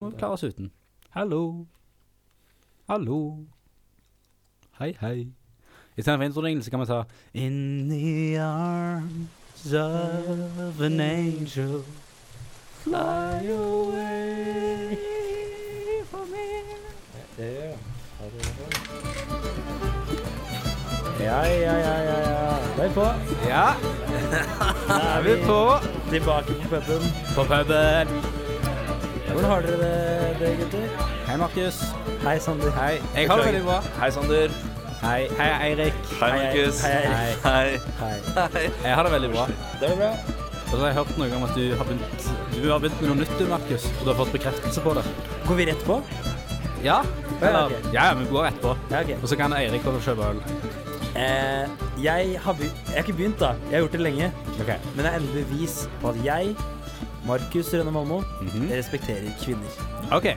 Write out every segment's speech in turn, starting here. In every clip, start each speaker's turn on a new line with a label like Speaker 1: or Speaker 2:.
Speaker 1: kan klare oss uten. Hallo. Hallo. Hei, hei. I stedet for introringen så kan vi ta In the arms of an angel Fly away from me
Speaker 2: Ja, ja, ja, ja, ja. Da er vi på.
Speaker 1: Ja,
Speaker 2: Da
Speaker 1: er vi på
Speaker 2: Tilbake på puben.
Speaker 1: På puben
Speaker 2: Hvordan har dere det, det gutter?
Speaker 1: Hei Markus
Speaker 2: Hei, Sander.
Speaker 1: Hei Jeg har det veldig bra
Speaker 3: Hei, Sander.
Speaker 1: Hei, hei Eirik
Speaker 3: Hei,
Speaker 2: Hei,
Speaker 3: Markus.
Speaker 2: hei, hei.
Speaker 3: Hei.
Speaker 2: Hei.
Speaker 3: Hei.
Speaker 1: Jeg har det veldig bra
Speaker 2: Det er bra.
Speaker 1: Og så har jeg hørt noe om at du har begynt Du har begynt med noe nytt du Markus Og du har fått bekreftelse på det
Speaker 2: Går vi rett på?
Speaker 1: Ja Eller,
Speaker 2: ok.
Speaker 1: ja, ja, vi går rett på
Speaker 2: Ja, ok.
Speaker 1: Og så kan Eirik gå og kjøpe øl
Speaker 2: Eh, jeg, har be- jeg har ikke begynt, da. Jeg har gjort det lenge.
Speaker 1: Ok
Speaker 2: Men det er endelig bevis på at jeg, Markus Rønne Malmo,
Speaker 1: Mhm.
Speaker 2: respekterer kvinner.
Speaker 1: Ok,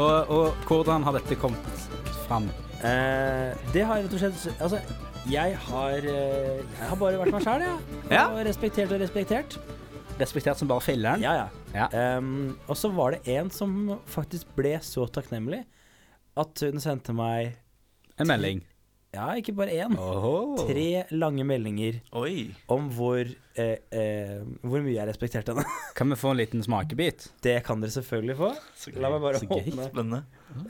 Speaker 1: og, og hvordan har dette kommet fram?
Speaker 2: Eh, det har rett og slett Altså, jeg har eh, Jeg har bare vært meg sjæl, jeg.
Speaker 1: Ja.
Speaker 2: Og respektert og respektert.
Speaker 1: Respektert som bare filleren?
Speaker 2: Ja, ja.
Speaker 1: Ja.
Speaker 2: Ehm, og så var det en som faktisk ble så takknemlig at hun sendte meg
Speaker 1: En melding.
Speaker 2: Ja, ikke bare én.
Speaker 1: Oho.
Speaker 2: Tre lange meldinger
Speaker 3: Oi.
Speaker 2: om hvor, eh, eh, hvor mye jeg respekterte henne.
Speaker 1: Kan vi få en liten smakebit?
Speaker 2: Det kan dere selvfølgelig få.
Speaker 3: Så
Speaker 2: La meg bare
Speaker 1: Så gøy.
Speaker 2: åpne.
Speaker 3: Spennende.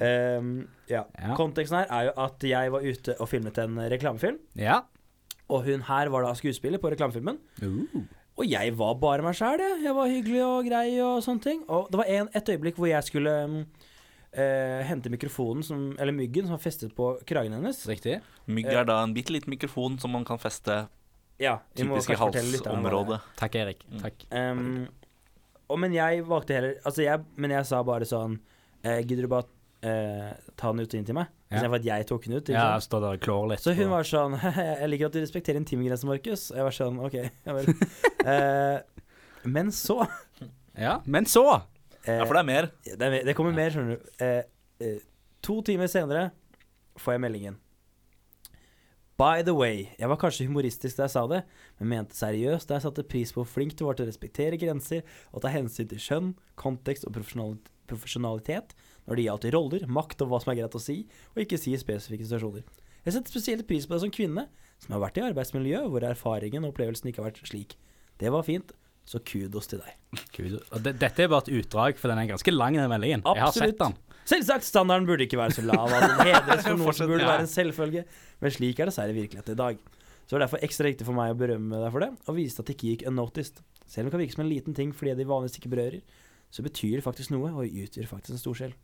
Speaker 2: Ehm, ja.
Speaker 1: Ja.
Speaker 2: Konteksten her er jo at jeg var ute og filmet en reklamefilm.
Speaker 1: Ja.
Speaker 2: Og hun her var da skuespiller på reklamefilmen.
Speaker 1: Uh.
Speaker 2: Og jeg var bare meg sjæl, jeg. Jeg var hyggelig og grei og sånne ting. Og det var en, et øyeblikk hvor jeg skulle mm, eh, hente mikrofonen, som, eller myggen, som var festet på kragen hennes.
Speaker 1: Riktig.
Speaker 3: Mygg er da en bitte liten mikrofon som man kan feste
Speaker 2: Ja, vi må
Speaker 3: typisk i
Speaker 2: kanskje fortelle lytterne hva det er.
Speaker 3: halsområdet.
Speaker 1: Takk, Erik. Takk.
Speaker 2: Ehm, og men jeg valgte heller Altså, jeg, men jeg sa bare sånn eh, Gidder du bare eh, ta den ut og inn til meg?
Speaker 1: Ja.
Speaker 2: Istedenfor at jeg tok den ut. ikke
Speaker 1: Ja,
Speaker 2: sant?
Speaker 1: jeg står der og klår litt.
Speaker 2: Så hun
Speaker 1: på-
Speaker 2: var sånn Jeg liker at du respekterer intimgrensen, Markus. Og jeg var sånn OK, ja vel. Eh, men så
Speaker 1: Ja, men så!
Speaker 2: eh,
Speaker 3: Ja, for det er mer.
Speaker 2: det, er mer- det kommer mer, skjønner du. Eh, eh, to timer senere får jeg meldingen. By the way, jeg var kanskje humoristisk da jeg sa det, men mente seriøst da jeg satte pris på hvor flink du var til å respektere grenser og ta hensyn til kjønn, kontekst og profesjonal- profesjonalitet når det gjaldt roller, makt og hva som er greit å si, og ikke si i spesifikke situasjoner. Jeg setter spesielt pris på deg som kvinne, som har vært i arbeidsmiljø hvor erfaringen og opplevelsen ikke har vært slik. Det var fint, så kudos til deg.
Speaker 1: Gud, og det, dette er bare et utdrag, for den er ganske lang, den meldingen. Jeg har sett den.
Speaker 2: Selvsagt, standarden burde ikke være så lav at den hedres for noe som
Speaker 3: Fortsett,
Speaker 2: burde
Speaker 1: ja.
Speaker 2: være en selvfølge, men slik er dessverre virkeligheten i dag. Så det var derfor ekstra riktig for meg å berømme deg for det, og viste at det ikke gikk unnoticed. Selv om det kan virke som en liten ting fordi de vanligvis ikke berører, så betyr det faktisk noe, og utgjør faktisk en stor skjell.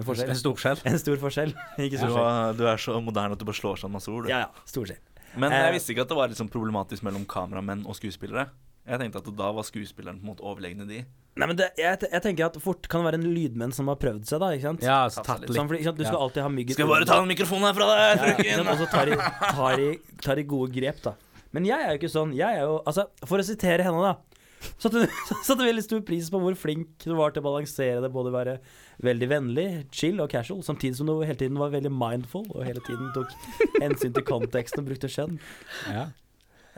Speaker 2: En forskjell.
Speaker 1: En stor skjell.
Speaker 2: En stor forskjell, ikke
Speaker 3: Du,
Speaker 2: stor skjell.
Speaker 3: har- du er så moderne at du bare slår sammen masse ord. du.
Speaker 2: Ja, ja, stor skjell.
Speaker 3: Men
Speaker 2: Eh.
Speaker 3: jeg visste ikke at det var liksom problematisk mellom kameramenn og skuespillere. Jeg tenkte at da var skuespilleren på en måte overlegne de.
Speaker 2: Nei, men det, jeg, jeg tenker at fort kan det være en lydmenn som har prøvd seg, da, ikke sant?
Speaker 1: Ja, altså, tatt litt.
Speaker 2: Sånn, fordi, ikke sant? Du skal alltid ha myggen
Speaker 3: Skal jeg bare ta den mikrofonen her fra deg,
Speaker 2: Ja, ikke sant?
Speaker 3: frøken?
Speaker 2: Og så tar de, tar, de, tar de gode grep, da. Men jeg er jo ikke sånn. Jeg er jo, altså, for å sitere henne, da. Satte satte veldig stor pris på hvor flink du var til å balansere det. Både være veldig vennlig, chill og casual, samtidig som du hele tiden var veldig mindful og hele tiden tok hensyn til konteksten og brukte skjønn.
Speaker 1: Ja.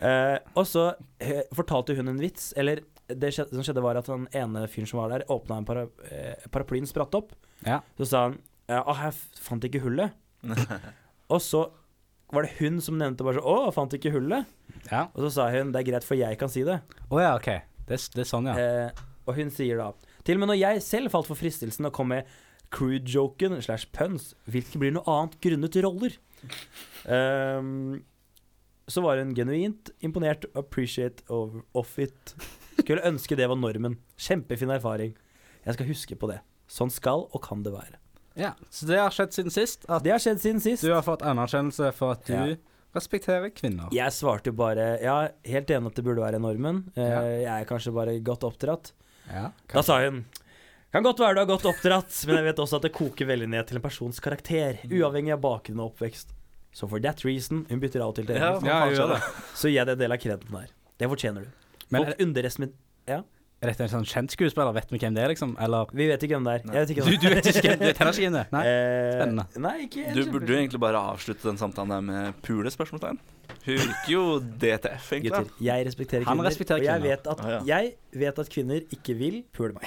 Speaker 2: Eh, og så eh, fortalte hun en vits, eller det skje- som skjedde, var at den ene fyren som var der, åpna en para, eh, paraplyen, spratt opp.
Speaker 1: Ja.
Speaker 2: Så sa han eh, Å, jeg f- fant ikke hullet. Og så var det hun som nevnte bare så, å, fant ikke hullet.
Speaker 1: Ja.
Speaker 2: Og så sa hun det er greit, for jeg kan si det.
Speaker 1: Å ja, OK. Det, er s- det er sånn, ja.
Speaker 2: Eh, og hun sier da Til og med når jeg selv falt for fristelsen å komme med crude-joken slash puns, hvilket blir noe annet grunnet roller, ehm, så var hun genuint imponert, appreciate of, of it. Skulle ønske det var normen. Kjempefin erfaring. Jeg skal huske på det. Sånn skal og kan det være.
Speaker 1: ja. Så det har skjedd siden sist at
Speaker 2: Det har skjedd siden sist.
Speaker 1: du har fått anerkjennelse for at du
Speaker 2: Ja.
Speaker 1: respekterer kvinner.
Speaker 2: Jeg svarte jo bare Ja, helt enig at det burde være normen. Eh,
Speaker 1: Ja.
Speaker 2: Jeg er kanskje bare godt oppdratt.
Speaker 1: Ja.
Speaker 2: Da sa hun Kan godt være du er godt oppdratt, men jeg vet også at det koker veldig ned til en persons karakter,
Speaker 1: Mm.
Speaker 2: uavhengig av bakgrunn og oppvekst. Så for that reason Hun bytter av og til til engelsk.
Speaker 1: Ja, jeg gjør det.
Speaker 2: Så gir jeg deg en del av kreden der. Det fortjener du.
Speaker 1: Men
Speaker 2: Folk underestimer
Speaker 1: Er dette en sånn kjent skuespiller? Vet vi hvem det er, liksom? Eller
Speaker 2: Vi vet ikke hvem det er. Jeg vet ikke
Speaker 1: Du,
Speaker 2: hvem
Speaker 1: du vet ikke hvem du vet heller ikke hvem det er? Nei.
Speaker 2: Spennende.
Speaker 1: spennende.
Speaker 2: Nei, ikke
Speaker 3: Du burde jo egentlig bare avslutte den samtalen der med pule, spørsmålstegn. Hun virker jo DTF,
Speaker 2: Gutter,
Speaker 3: egentlig.
Speaker 2: jeg respekterer
Speaker 1: Han
Speaker 2: kvinner,
Speaker 1: respekterer
Speaker 2: og jeg
Speaker 1: kvinner.
Speaker 2: vet, at,
Speaker 3: Ah, ja.
Speaker 2: jeg vet at kvinner ikke vil pule meg.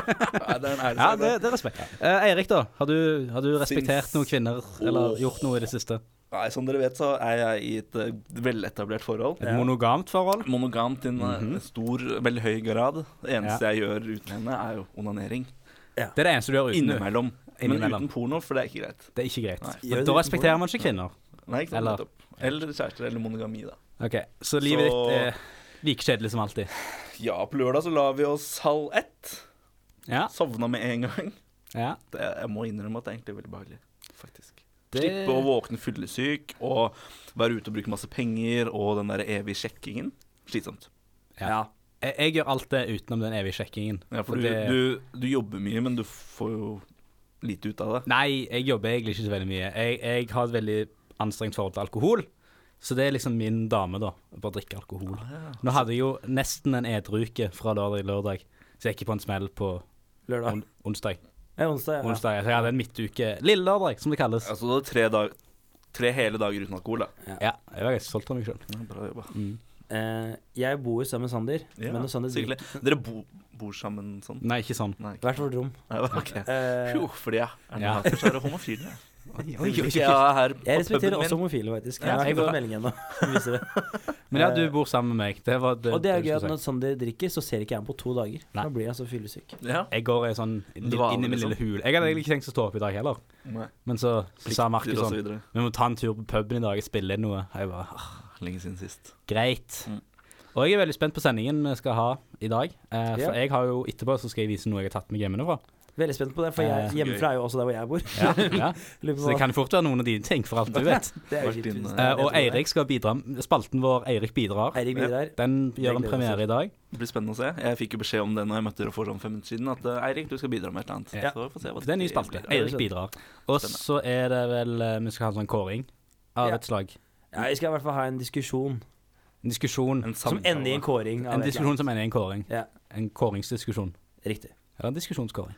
Speaker 3: Ja, den er
Speaker 1: Ja, det, det er respekt. Eh, Eirik, da? Har du, har du respektert
Speaker 3: Syns-
Speaker 1: noen kvinner, eller gjort noe i det siste?
Speaker 3: Nei, som dere vet, så er jeg i et eh, veletablert forhold.
Speaker 1: Et
Speaker 2: Ja.
Speaker 1: monogamt forhold?
Speaker 3: Monogamt i en eh,
Speaker 1: Mhm.
Speaker 3: stor, veldig høy grad. Det eneste jeg gjør uten henne, er jo onanering.
Speaker 1: Det er det eneste du gjør uten nå.
Speaker 3: Innimellom. Men
Speaker 1: Innimellom.
Speaker 3: uten porno, for det er ikke greit.
Speaker 1: Det er ikke greit.
Speaker 3: Nei.
Speaker 1: For da respekterer man ikke kvinner.
Speaker 3: Nei, ikke sant,
Speaker 1: Eller-
Speaker 3: nettopp. eller kjærester eller monogami, da.
Speaker 1: Ok, Så livet
Speaker 3: Så-
Speaker 1: ditt er like kjedelig som alltid?
Speaker 3: Ja, på lørdag så la vi oss halv ett.
Speaker 1: Ja.
Speaker 3: Sovna med en gang.
Speaker 1: ja.
Speaker 3: Det, jeg må innrømme at det er egentlig veldig behagelig, faktisk.
Speaker 1: Det-
Speaker 3: Slippe å våkne fyllesyk og være ute og bruke masse penger og den der evige sjekkingen. Slitsomt.
Speaker 1: Ja. Jeg, jeg gjør alt det utenom den evige sjekkingen.
Speaker 3: Ja, for
Speaker 1: Og
Speaker 3: du,
Speaker 1: det-
Speaker 3: du, du jobber mye, men du får jo lite ut av det.
Speaker 1: Nei, jeg jobber egentlig ikke så veldig mye. Jeg, jeg har et veldig anstrengt forhold til alkohol. Så det er liksom min dame, da. å Bare drikke alkohol. Nå hadde jeg jo nesten en edruke fra lørdag til lørdag, så jeg gikk på en smell på
Speaker 2: Lørdag.
Speaker 1: on onsdag.
Speaker 2: Ja, onsdag. Ja.
Speaker 1: onsdag. Så jeg hadde en midtuke Lille lørdag, som det kalles.
Speaker 3: Altså, du har tre, dag, tre hele dager uten alkohol, da.
Speaker 1: Ja, jeg var ganske stolt av meg sjøl.
Speaker 3: Ja, bra jobba.
Speaker 2: Eh, jeg bor jo sammen med Sander,
Speaker 3: Ja,
Speaker 2: men sånn når Sander
Speaker 3: så hyggelig.
Speaker 2: drikker
Speaker 3: Dere bo, bor sammen sånn?
Speaker 1: Nei, ikke sånn.
Speaker 3: Nei.
Speaker 2: hvert vårt rom.
Speaker 3: Nei ok.
Speaker 2: Eh,
Speaker 3: Jo, fordi jeg er
Speaker 1: Ja.
Speaker 3: ja. er homofil. jeg.
Speaker 1: oi, oi.
Speaker 3: Jeg er her på
Speaker 2: jeg respekterer
Speaker 3: puben min.
Speaker 2: også homofile, faktisk. Jeg
Speaker 1: Ja,
Speaker 2: har
Speaker 1: så
Speaker 2: ikke fått
Speaker 1: bra.
Speaker 2: melding ennå. som viser det.
Speaker 1: Men ja, du bor sammen med meg. Det var det,
Speaker 2: Og det er
Speaker 1: det
Speaker 2: gøy
Speaker 1: jeg
Speaker 2: at
Speaker 1: skulle
Speaker 2: når Sander drikker, så ser ikke jeg ham på to dager.
Speaker 1: Nei.
Speaker 2: Da blir jeg så fyllesyk.
Speaker 3: Ja.
Speaker 1: si. Jeg går i sånn litt
Speaker 3: Dvale,
Speaker 1: inn i min lille hul. Jeg hadde egentlig ikke tenkt å stå opp i dag heller,
Speaker 3: Nei.
Speaker 1: men så, så sa Markus
Speaker 3: Plikter og så
Speaker 1: sånn
Speaker 3: videre.
Speaker 1: Vi må ta en tur på puben i dag og spille inn noe. Og jeg bare «Ah,
Speaker 3: Lenge siden sist.
Speaker 1: Greit.
Speaker 3: Mm.
Speaker 1: Og jeg er veldig spent på sendingen vi skal ha i dag. Eh,
Speaker 2: Ja.
Speaker 1: for jeg har jo etterpå så skal jeg vise noe jeg har tatt meg hjemmefra.
Speaker 2: Veldig spent på det, for
Speaker 1: Eh,
Speaker 2: jeg,
Speaker 1: så
Speaker 2: hjemmefra er jo også der hvor jeg bor.
Speaker 1: Ja, ja.
Speaker 2: Lurer på
Speaker 1: Så det
Speaker 2: hva-
Speaker 1: kan fort være noen av dine ting, for alt du vet.
Speaker 2: det er jo
Speaker 3: Vært
Speaker 2: litt
Speaker 3: inne.
Speaker 2: trist.
Speaker 1: Eh,
Speaker 2: Jeg tror
Speaker 1: og
Speaker 2: det er.
Speaker 1: Eirik skal bidra. Spalten vår Eirik bidrar.
Speaker 2: Eirik bidrar.
Speaker 1: Den gjør en
Speaker 2: Det gleder
Speaker 1: premiere i dag.
Speaker 3: Det blir spennende å se. Jeg fikk jo beskjed om det når jeg møtte dere for sånn fem minutter siden, at eh, Eirik, du skal bidra med et eller annet.
Speaker 1: Ja.
Speaker 3: Så vi får se hva
Speaker 1: Det er en ny spalte.
Speaker 3: blir.
Speaker 1: Eirik bidrar. Og
Speaker 3: Spennende.
Speaker 1: så er det vel eh, Vi skal ha en sånn kåring av
Speaker 2: Ja.
Speaker 1: et slag.
Speaker 2: Ja, vi skal i hvert fall ha en diskusjon
Speaker 1: En diskusjon.
Speaker 3: En
Speaker 2: som
Speaker 3: samtale.
Speaker 2: ender i en kåring. av
Speaker 1: En
Speaker 2: et eller
Speaker 1: diskusjon som ender i en kåring.
Speaker 2: Ja.
Speaker 1: En kåringsdiskusjon.
Speaker 2: annet. Riktig.
Speaker 1: Eller en diskusjonskåring.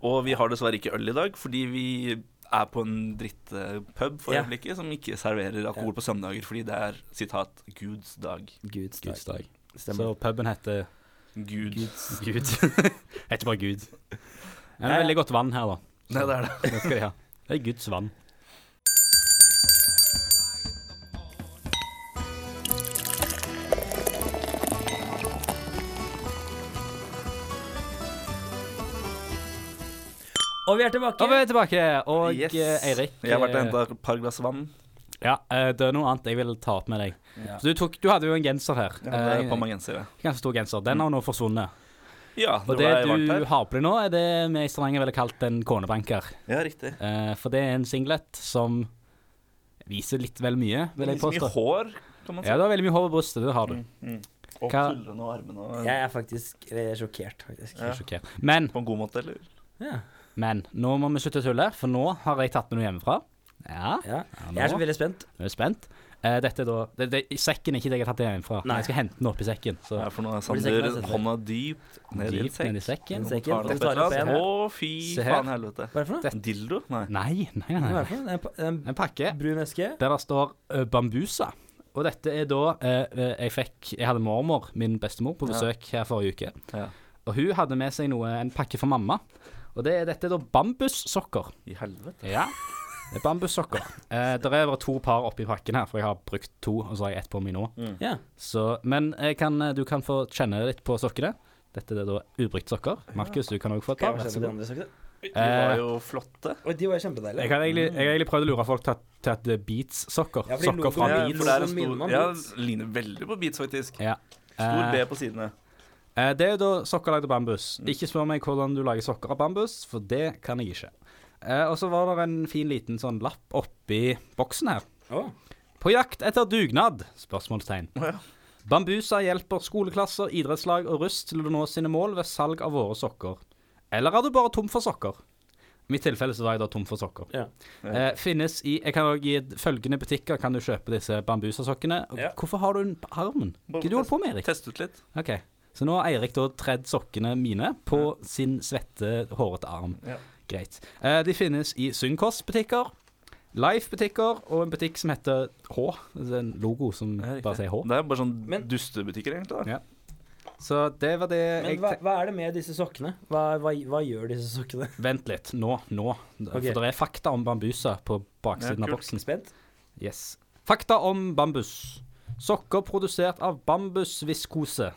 Speaker 3: Og vi har dessverre ikke øl i dag, fordi vi er på en drittpub for
Speaker 2: Ja.
Speaker 3: øyeblikket som ikke serverer alkohol på søndager fordi det er sitat Guds dag.
Speaker 2: Guds dag.
Speaker 1: Guds dag.
Speaker 2: Stemmer.
Speaker 1: Så puben heter
Speaker 3: Gud.
Speaker 1: Gud. Heter bare Gud. Det er veldig godt vann her, da.
Speaker 3: Nei, det er det.
Speaker 1: Det skal de ha. Det er Guds vann.
Speaker 2: Og vi er tilbake!
Speaker 1: Og vi er tilbake. Og
Speaker 3: Yes.
Speaker 1: eh, Eirik
Speaker 3: Jeg har vært og
Speaker 1: eh,
Speaker 3: henta et par glass vann.
Speaker 1: Ja, eh, det er noe annet jeg vil ta opp med deg.
Speaker 2: Ja.
Speaker 1: Så du, tok, du hadde jo en genser her.
Speaker 3: Ja, det er et par
Speaker 1: Eh,
Speaker 3: mange gensere.
Speaker 1: ganske stor genser. Den har nå forsvunnet.
Speaker 3: Ja,
Speaker 1: Og
Speaker 3: nå
Speaker 1: det
Speaker 3: er jeg varmt
Speaker 1: du
Speaker 3: her.
Speaker 1: har på deg nå, er det vi i Stavanger ville kalt en konebanker.
Speaker 3: Ja, riktig.
Speaker 1: Eh, for det er en singlet som viser litt vel mye, vil jeg
Speaker 3: Så mye
Speaker 1: påstå.
Speaker 3: hår, kan man si.
Speaker 1: Ja, du har veldig mye hår på brystet. Det har du.
Speaker 3: Sånn Mm. Og
Speaker 1: Hva-
Speaker 3: skuldrene og armene. Og...
Speaker 2: Jeg er faktisk eh, sjokkert, faktisk.
Speaker 1: Jeg
Speaker 3: Ja.
Speaker 1: er sjokkert. Men,
Speaker 3: På en god måte, eller?
Speaker 2: Ja.
Speaker 1: men. Nå må vi slutte å tulle, for nå har jeg tatt med noe hjemmefra. Ja, ja
Speaker 2: ja. Jeg er så
Speaker 1: nå.
Speaker 2: veldig spent.
Speaker 1: Jeg er spent. Eh, dette er da, det, det, i sekken er ikke det jeg har tatt hjemmefra.
Speaker 2: Nei.
Speaker 1: Men jeg skal hente den opp i sekken. Så
Speaker 3: Ja, for nå er
Speaker 2: Hvor er det
Speaker 3: Sander
Speaker 2: sekken er?
Speaker 3: hånda dypt ned i en
Speaker 1: dypt
Speaker 3: sekk.
Speaker 1: ned i sekken.
Speaker 2: En sekk. sekken.
Speaker 3: Tar
Speaker 2: Den
Speaker 3: den
Speaker 2: tar
Speaker 3: opp
Speaker 2: opp
Speaker 3: et eller
Speaker 2: en.
Speaker 3: annet. Å, fy
Speaker 1: Se her.
Speaker 3: faen helvete.
Speaker 2: Hva er det for noe?
Speaker 3: Dildo? Nei.
Speaker 1: Nei, nei, nei.
Speaker 2: Hva er
Speaker 1: nei.
Speaker 2: det for noe? Det er pa- En
Speaker 1: En pakke
Speaker 2: brun eske?
Speaker 1: der det står eh, Bambusa. Og dette er da eh, eh, jeg fikk Jeg hadde mormor, min bestemor, på
Speaker 3: Ja.
Speaker 1: besøk her forrige uke.
Speaker 3: Ja.
Speaker 1: Og hun hadde med seg noe, en pakke for mamma. Og det, er- dette er da bambussokker.
Speaker 3: I helvete.
Speaker 1: Ja. Det er bambussokker. Eh, det er bare to par oppi pakken her, for jeg har brukt to, og så har jeg ett på meg nå.
Speaker 2: Ja.
Speaker 1: Så, men jeg kan, eh, du kan få kjenne litt på sokkene. Dette er da ubrukt sokker. Markus, du kan òg få et
Speaker 2: Skal
Speaker 1: par.
Speaker 2: jeg
Speaker 1: Vær så
Speaker 2: fortsette de
Speaker 1: god.
Speaker 2: andre sakene?
Speaker 3: De
Speaker 1: Eh.
Speaker 3: var jo flotte.
Speaker 2: Oi, de var
Speaker 1: Jeg
Speaker 2: kjempedeilige.
Speaker 1: har egentlig, jeg har egentlig prøvd å lure folk til at, til at det er Beats-sokker.
Speaker 2: Ja, fordi
Speaker 1: sokker fra
Speaker 2: logoen-
Speaker 3: Ja,
Speaker 2: Beats.
Speaker 3: for det er en
Speaker 2: Minner meg
Speaker 3: stor
Speaker 2: om
Speaker 3: Ja,
Speaker 2: Beats.
Speaker 3: ligner veldig på Beats, faktisk.
Speaker 1: Ja.
Speaker 3: Stor B
Speaker 1: Eh,
Speaker 3: på sidene.
Speaker 1: eh, det er jo da sokker lagd av bambus.
Speaker 2: Mm.
Speaker 1: Ikke spør meg hvordan du lager sokker av bambus, for det kan jeg ikke. Eh, og så var det en fin liten sånn lapp oppi boksen her.
Speaker 2: Å.
Speaker 1: På jakt etter dugnad? Spørsmålstegn.
Speaker 3: Å, ja.
Speaker 1: Bambusa hjelper skoleklasser, idrettslag og russ til å nå sine mål ved salg av våre sokker. Eller er du bare tom for sokker? I mitt tilfelle så var jeg da tom for sokker.
Speaker 2: Ja.
Speaker 1: Eh, finnes i jeg kan også gi et- følgende butikker kan du kjøpe disse bambusasokkene. Og
Speaker 2: Ja.
Speaker 1: Hvorfor har du den på armen? Hva
Speaker 3: Bare
Speaker 1: er det du holder på med, Eirik?
Speaker 3: Test ut litt.
Speaker 1: Ok, Så nå har Eirik da tredd sokkene mine på sin svette, hårete arm.
Speaker 3: Ja.
Speaker 1: Greit. Eh, de finnes i Synkost-butikker, Life-butikker og en butikk som heter H. Det er en logo som
Speaker 3: Ja, riktig.
Speaker 1: bare sier H.
Speaker 3: Det er bare sånn
Speaker 2: Men-
Speaker 3: dustebutikker, egentlig. da.
Speaker 1: Ja. Så det var det
Speaker 2: Men
Speaker 1: jeg
Speaker 2: hva, hva er det med disse sokkene? Hva, hva, hva gjør disse sokkene?
Speaker 1: tenkte. Vent litt. Nå. Nå.
Speaker 2: Ok.
Speaker 1: For det er fakta om bambuser på baksiden
Speaker 3: Ja,
Speaker 1: av
Speaker 3: kult.
Speaker 1: boksen.
Speaker 2: Spent?
Speaker 1: Yes. Fakta om bambus. Sokker produsert av bambusviskose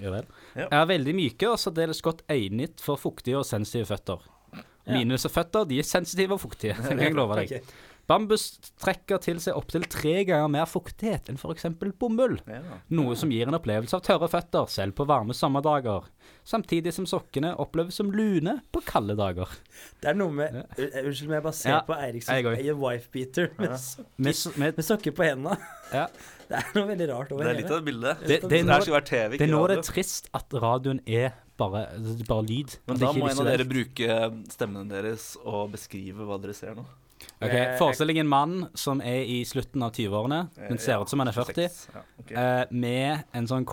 Speaker 1: ja vel,
Speaker 3: Ja.
Speaker 1: er veldig myke og særdeles godt egnet for fuktige og sensitive føtter.
Speaker 2: Ja.
Speaker 1: Mine føtter de er sensitive og fuktige. Det kan jeg love deg.
Speaker 2: Ok.
Speaker 1: Bambus trekker til seg opptil tre ganger mer fuktighet enn f.eks. bomull.
Speaker 3: Ja.
Speaker 1: Noe som gir en opplevelse av tørre føtter, selv på varme sommerdager. Samtidig som sokkene oppleves som lune på kalde dager.
Speaker 2: Det er noe med
Speaker 1: Ja.
Speaker 2: Ur- Unnskyld, men jeg bare ser
Speaker 1: Ja,
Speaker 2: på Eirik
Speaker 1: jeg
Speaker 2: som
Speaker 1: går.
Speaker 2: er wifebeater med,
Speaker 3: Ja.
Speaker 2: so-
Speaker 1: Med, s- med,
Speaker 2: med sokker på hendene.
Speaker 1: Ja.
Speaker 2: Det er noe veldig rart over
Speaker 3: Det er litt
Speaker 2: hele.
Speaker 3: av et bilde.
Speaker 1: det, det,
Speaker 3: Det
Speaker 1: er
Speaker 3: her
Speaker 1: nå,
Speaker 3: skulle vært TV,
Speaker 1: det
Speaker 3: ikke
Speaker 1: er nå det
Speaker 3: radio.
Speaker 1: er trist at radioen er bare, det er bare lyd. at
Speaker 3: Men
Speaker 1: det
Speaker 3: da
Speaker 1: ikke er
Speaker 3: må en av
Speaker 1: visuelt.
Speaker 3: dere bruke stemmene deres og beskrive hva dere ser nå.
Speaker 1: Ok,
Speaker 2: Eh,
Speaker 1: Forestill deg en mann som er i slutten av 20-årene, men ser ut som han er 40,
Speaker 3: 26. Ja, Eh, ok. Mm.
Speaker 1: eh, med en sånn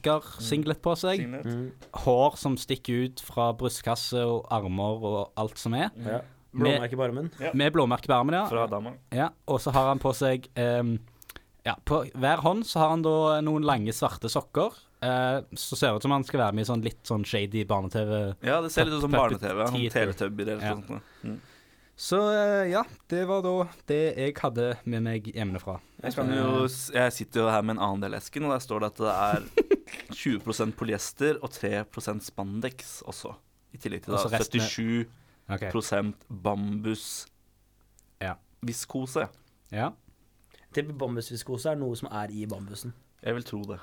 Speaker 1: konebanker-singlet på seg,
Speaker 3: Signet.
Speaker 2: Mm,
Speaker 1: hår som stikker ut fra brystkasse og armer og alt som er,
Speaker 2: ja.
Speaker 3: Mm.
Speaker 2: Blåmerke på armen.
Speaker 1: med blåmerke på armen, ja.
Speaker 3: Fra dama.
Speaker 1: ja. Og så har han på seg ehm, Ja, på hver hånd så har han da noen lange, svarte sokker. eh, så ser det ut som han skal være med i sånn litt sånn shady barne-TV.
Speaker 3: Ja, det ser litt ut som
Speaker 1: Puppet
Speaker 3: barne-TV. Sånn
Speaker 1: Theater.
Speaker 3: Teletubbier eller
Speaker 1: Ja.
Speaker 3: noe sånt. noe. Mm.
Speaker 1: Så eh, ja, det var da det jeg hadde med meg hjemmefra.
Speaker 3: Jeg, kan
Speaker 1: Eh.
Speaker 3: jo, s- jeg sitter jo her med en annen del av esken, og der står det at det er 20 polyester og 3 spandex også. I tillegg til da,
Speaker 1: Og så resten er-
Speaker 3: 77
Speaker 1: Ok,
Speaker 3: bambus
Speaker 1: Ja.
Speaker 3: viskose.
Speaker 1: ja.
Speaker 2: Tipper bambusviskose er noe som er i bambusen.
Speaker 3: Jeg vil tro det.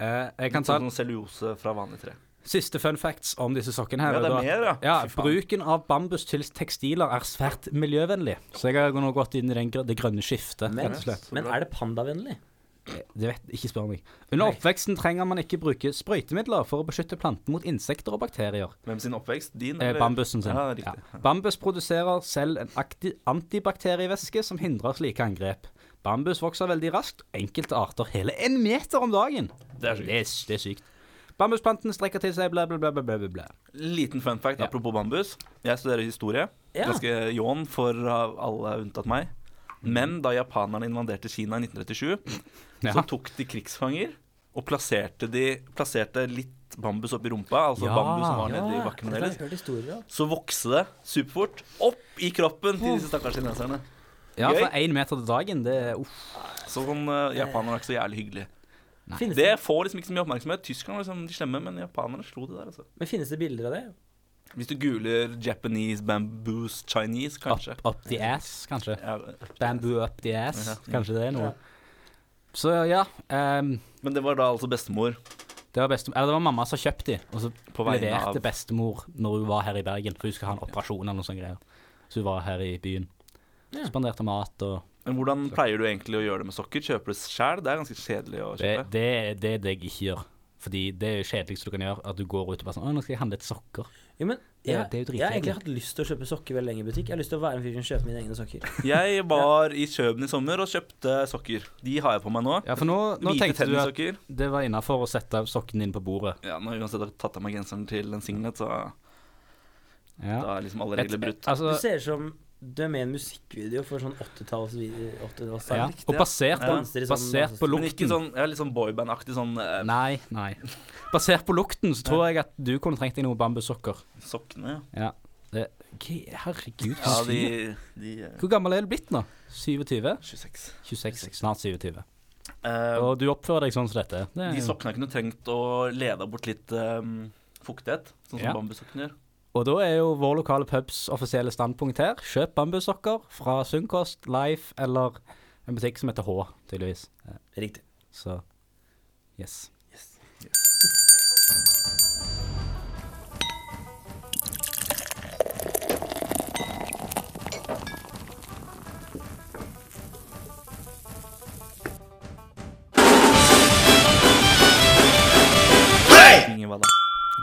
Speaker 1: Eh, jeg
Speaker 3: Litt
Speaker 1: kan ta
Speaker 3: sånn cellulose fra vanlig tre.
Speaker 1: Siste fun facts om disse sokkene her.
Speaker 3: Ja, det er
Speaker 1: da at-
Speaker 3: mer, ja.
Speaker 1: ja.
Speaker 3: Fy faen.
Speaker 1: Bruken av bambus til tekstiler er svært miljøvennlig. Så jeg har nå gått inn i den, gr- det grønne skiftet,
Speaker 2: Men-
Speaker 1: rett og slett.
Speaker 2: Men er det pandavennlig?
Speaker 1: Det vet, ikke spør meg. Under
Speaker 2: Nei.
Speaker 1: oppveksten trenger man ikke bruke sprøytemidler for å beskytte planten mot insekter og bakterier.
Speaker 3: Hvem sin oppvekst? Din?
Speaker 1: Eh, bambusen sin.
Speaker 3: Ja, riktig.
Speaker 1: Ja. Bambus produserer selv en akti- antibakterievæske som hindrer slike angrep. Bambus vokser veldig raskt, enkelte arter hele en meter om dagen.
Speaker 3: Det er sykt.
Speaker 1: Det er, det er sykt. Bambusplantene strekker til seg, bla, bla, bla, bla, bla, bla, bla.
Speaker 3: Liten fun fact
Speaker 1: Ja.
Speaker 3: apropos bambus. Jeg studerer historie.
Speaker 2: Ja.
Speaker 3: Ganske ljåen for uh, alle unntatt meg.
Speaker 1: Mm.
Speaker 3: Men da japanerne invaderte Kina i 1937,
Speaker 1: Ja.
Speaker 3: så tok de krigsfanger og plasserte, de, plasserte litt bambus oppi rumpa, altså
Speaker 1: Ja.
Speaker 3: bambus som var
Speaker 2: Ja,
Speaker 3: nede i
Speaker 2: dette
Speaker 3: bakken
Speaker 2: har
Speaker 3: deres.
Speaker 2: jeg hørt historier om.
Speaker 3: Så vokste det superfort opp i kroppen til disse stakkars kineserne.
Speaker 1: Ja,
Speaker 3: Gøy.
Speaker 1: fra én meter til dagen, det er uff.
Speaker 3: Så sånn, uh, japanerne er ikke så jævlig hyggelige.
Speaker 1: Nei.
Speaker 2: Finnes
Speaker 3: Det
Speaker 2: det,
Speaker 3: får liksom ikke så mye oppmerksomhet. Tyskerne var liksom de slemme, men japanerne slo de der, altså.
Speaker 2: men finnes det bilder av det?
Speaker 3: Hvis du googler 'Japanese bamboos Chinese', kanskje.
Speaker 1: Up, up the ass, kanskje.
Speaker 3: Ja,
Speaker 1: Bamboo up the ass.
Speaker 3: Ja.
Speaker 1: Kanskje det er noe.
Speaker 2: Ja.
Speaker 1: Så ja. ehm,
Speaker 3: men det var da altså bestemor
Speaker 1: det, var bestem eller, det var mamma som kjøpte de, og så
Speaker 3: på vegne av
Speaker 1: leverte bestemor når hun var her i Bergen. For hun skal ha en operasjon eller noe sånt greier. Så hun var her i byen.
Speaker 2: Ja.
Speaker 1: Spanderte mat og
Speaker 3: Men hvordan pleier du egentlig å gjøre det med sokker? Kjøper du sjæl? Det er ganske kjedelig å
Speaker 1: Det,
Speaker 3: kjøpe.
Speaker 1: det, det er det jeg ikke gjør. Fordi det er jo kjedeligste du kan gjøre, at du går ut og bare sånn Å, nå skal jeg handle et sokker.
Speaker 2: Jo, men
Speaker 1: Det er-
Speaker 2: jeg,
Speaker 1: det er jo
Speaker 2: jeg har
Speaker 1: dritkjedelig.
Speaker 2: egentlig hatt lyst til å kjøpe sokker veldig lenge i butikk. Jeg har lyst til å være en fyr som kjøper mine egne sokker.
Speaker 3: Jeg var i Kjøben i sommer og kjøpte sokker. De har jeg på meg nå.
Speaker 1: Ja, for nå, nå
Speaker 3: Hvite
Speaker 1: tenkte du at
Speaker 3: tennissokker.
Speaker 1: det var innafor å sette sokken din på bordet.
Speaker 3: Ja, nå har jeg uansett har jeg tatt av meg genseren til en singlet, så
Speaker 1: Ja.
Speaker 3: da er liksom alle regler brutt.
Speaker 2: Du
Speaker 1: Altså,
Speaker 2: ser ut som du er med i en musikkvideo for sånn 80-tallsvideo.
Speaker 1: ja.
Speaker 3: riktig,
Speaker 1: Og
Speaker 3: ja.
Speaker 1: basert,
Speaker 3: Ja.
Speaker 1: på- basert på
Speaker 3: Men ikke
Speaker 1: lukten
Speaker 3: sånn, jeg er litt sånn boyband-aktig sånn eh,
Speaker 1: Nei, nei. Basert på lukten så tror jeg at du kunne trengt deg noen bambussokker.
Speaker 3: sokkene.
Speaker 1: Ja. Det, Hva- herregud.
Speaker 3: Ja, de,
Speaker 1: syv-
Speaker 3: de eh,
Speaker 1: Hvor gammel er du blitt nå? 27?
Speaker 3: 26.
Speaker 1: 26, snart 27.
Speaker 3: Eh,
Speaker 1: Og du oppfører deg sånn som dette. Det er
Speaker 3: de
Speaker 1: jo-
Speaker 3: sokkene kunne trengt å lede bort litt eh, fuktighet, sånn som
Speaker 1: Ja.
Speaker 3: bambussokkene gjør.
Speaker 1: Og da er jo vår lokale pubs offisielle standpunkt her kjøp bambussokker fra Sunnkost, Life eller en butikk som heter H, tydeligvis.
Speaker 2: Riktig.
Speaker 1: Så yes.
Speaker 3: Vinge hva da?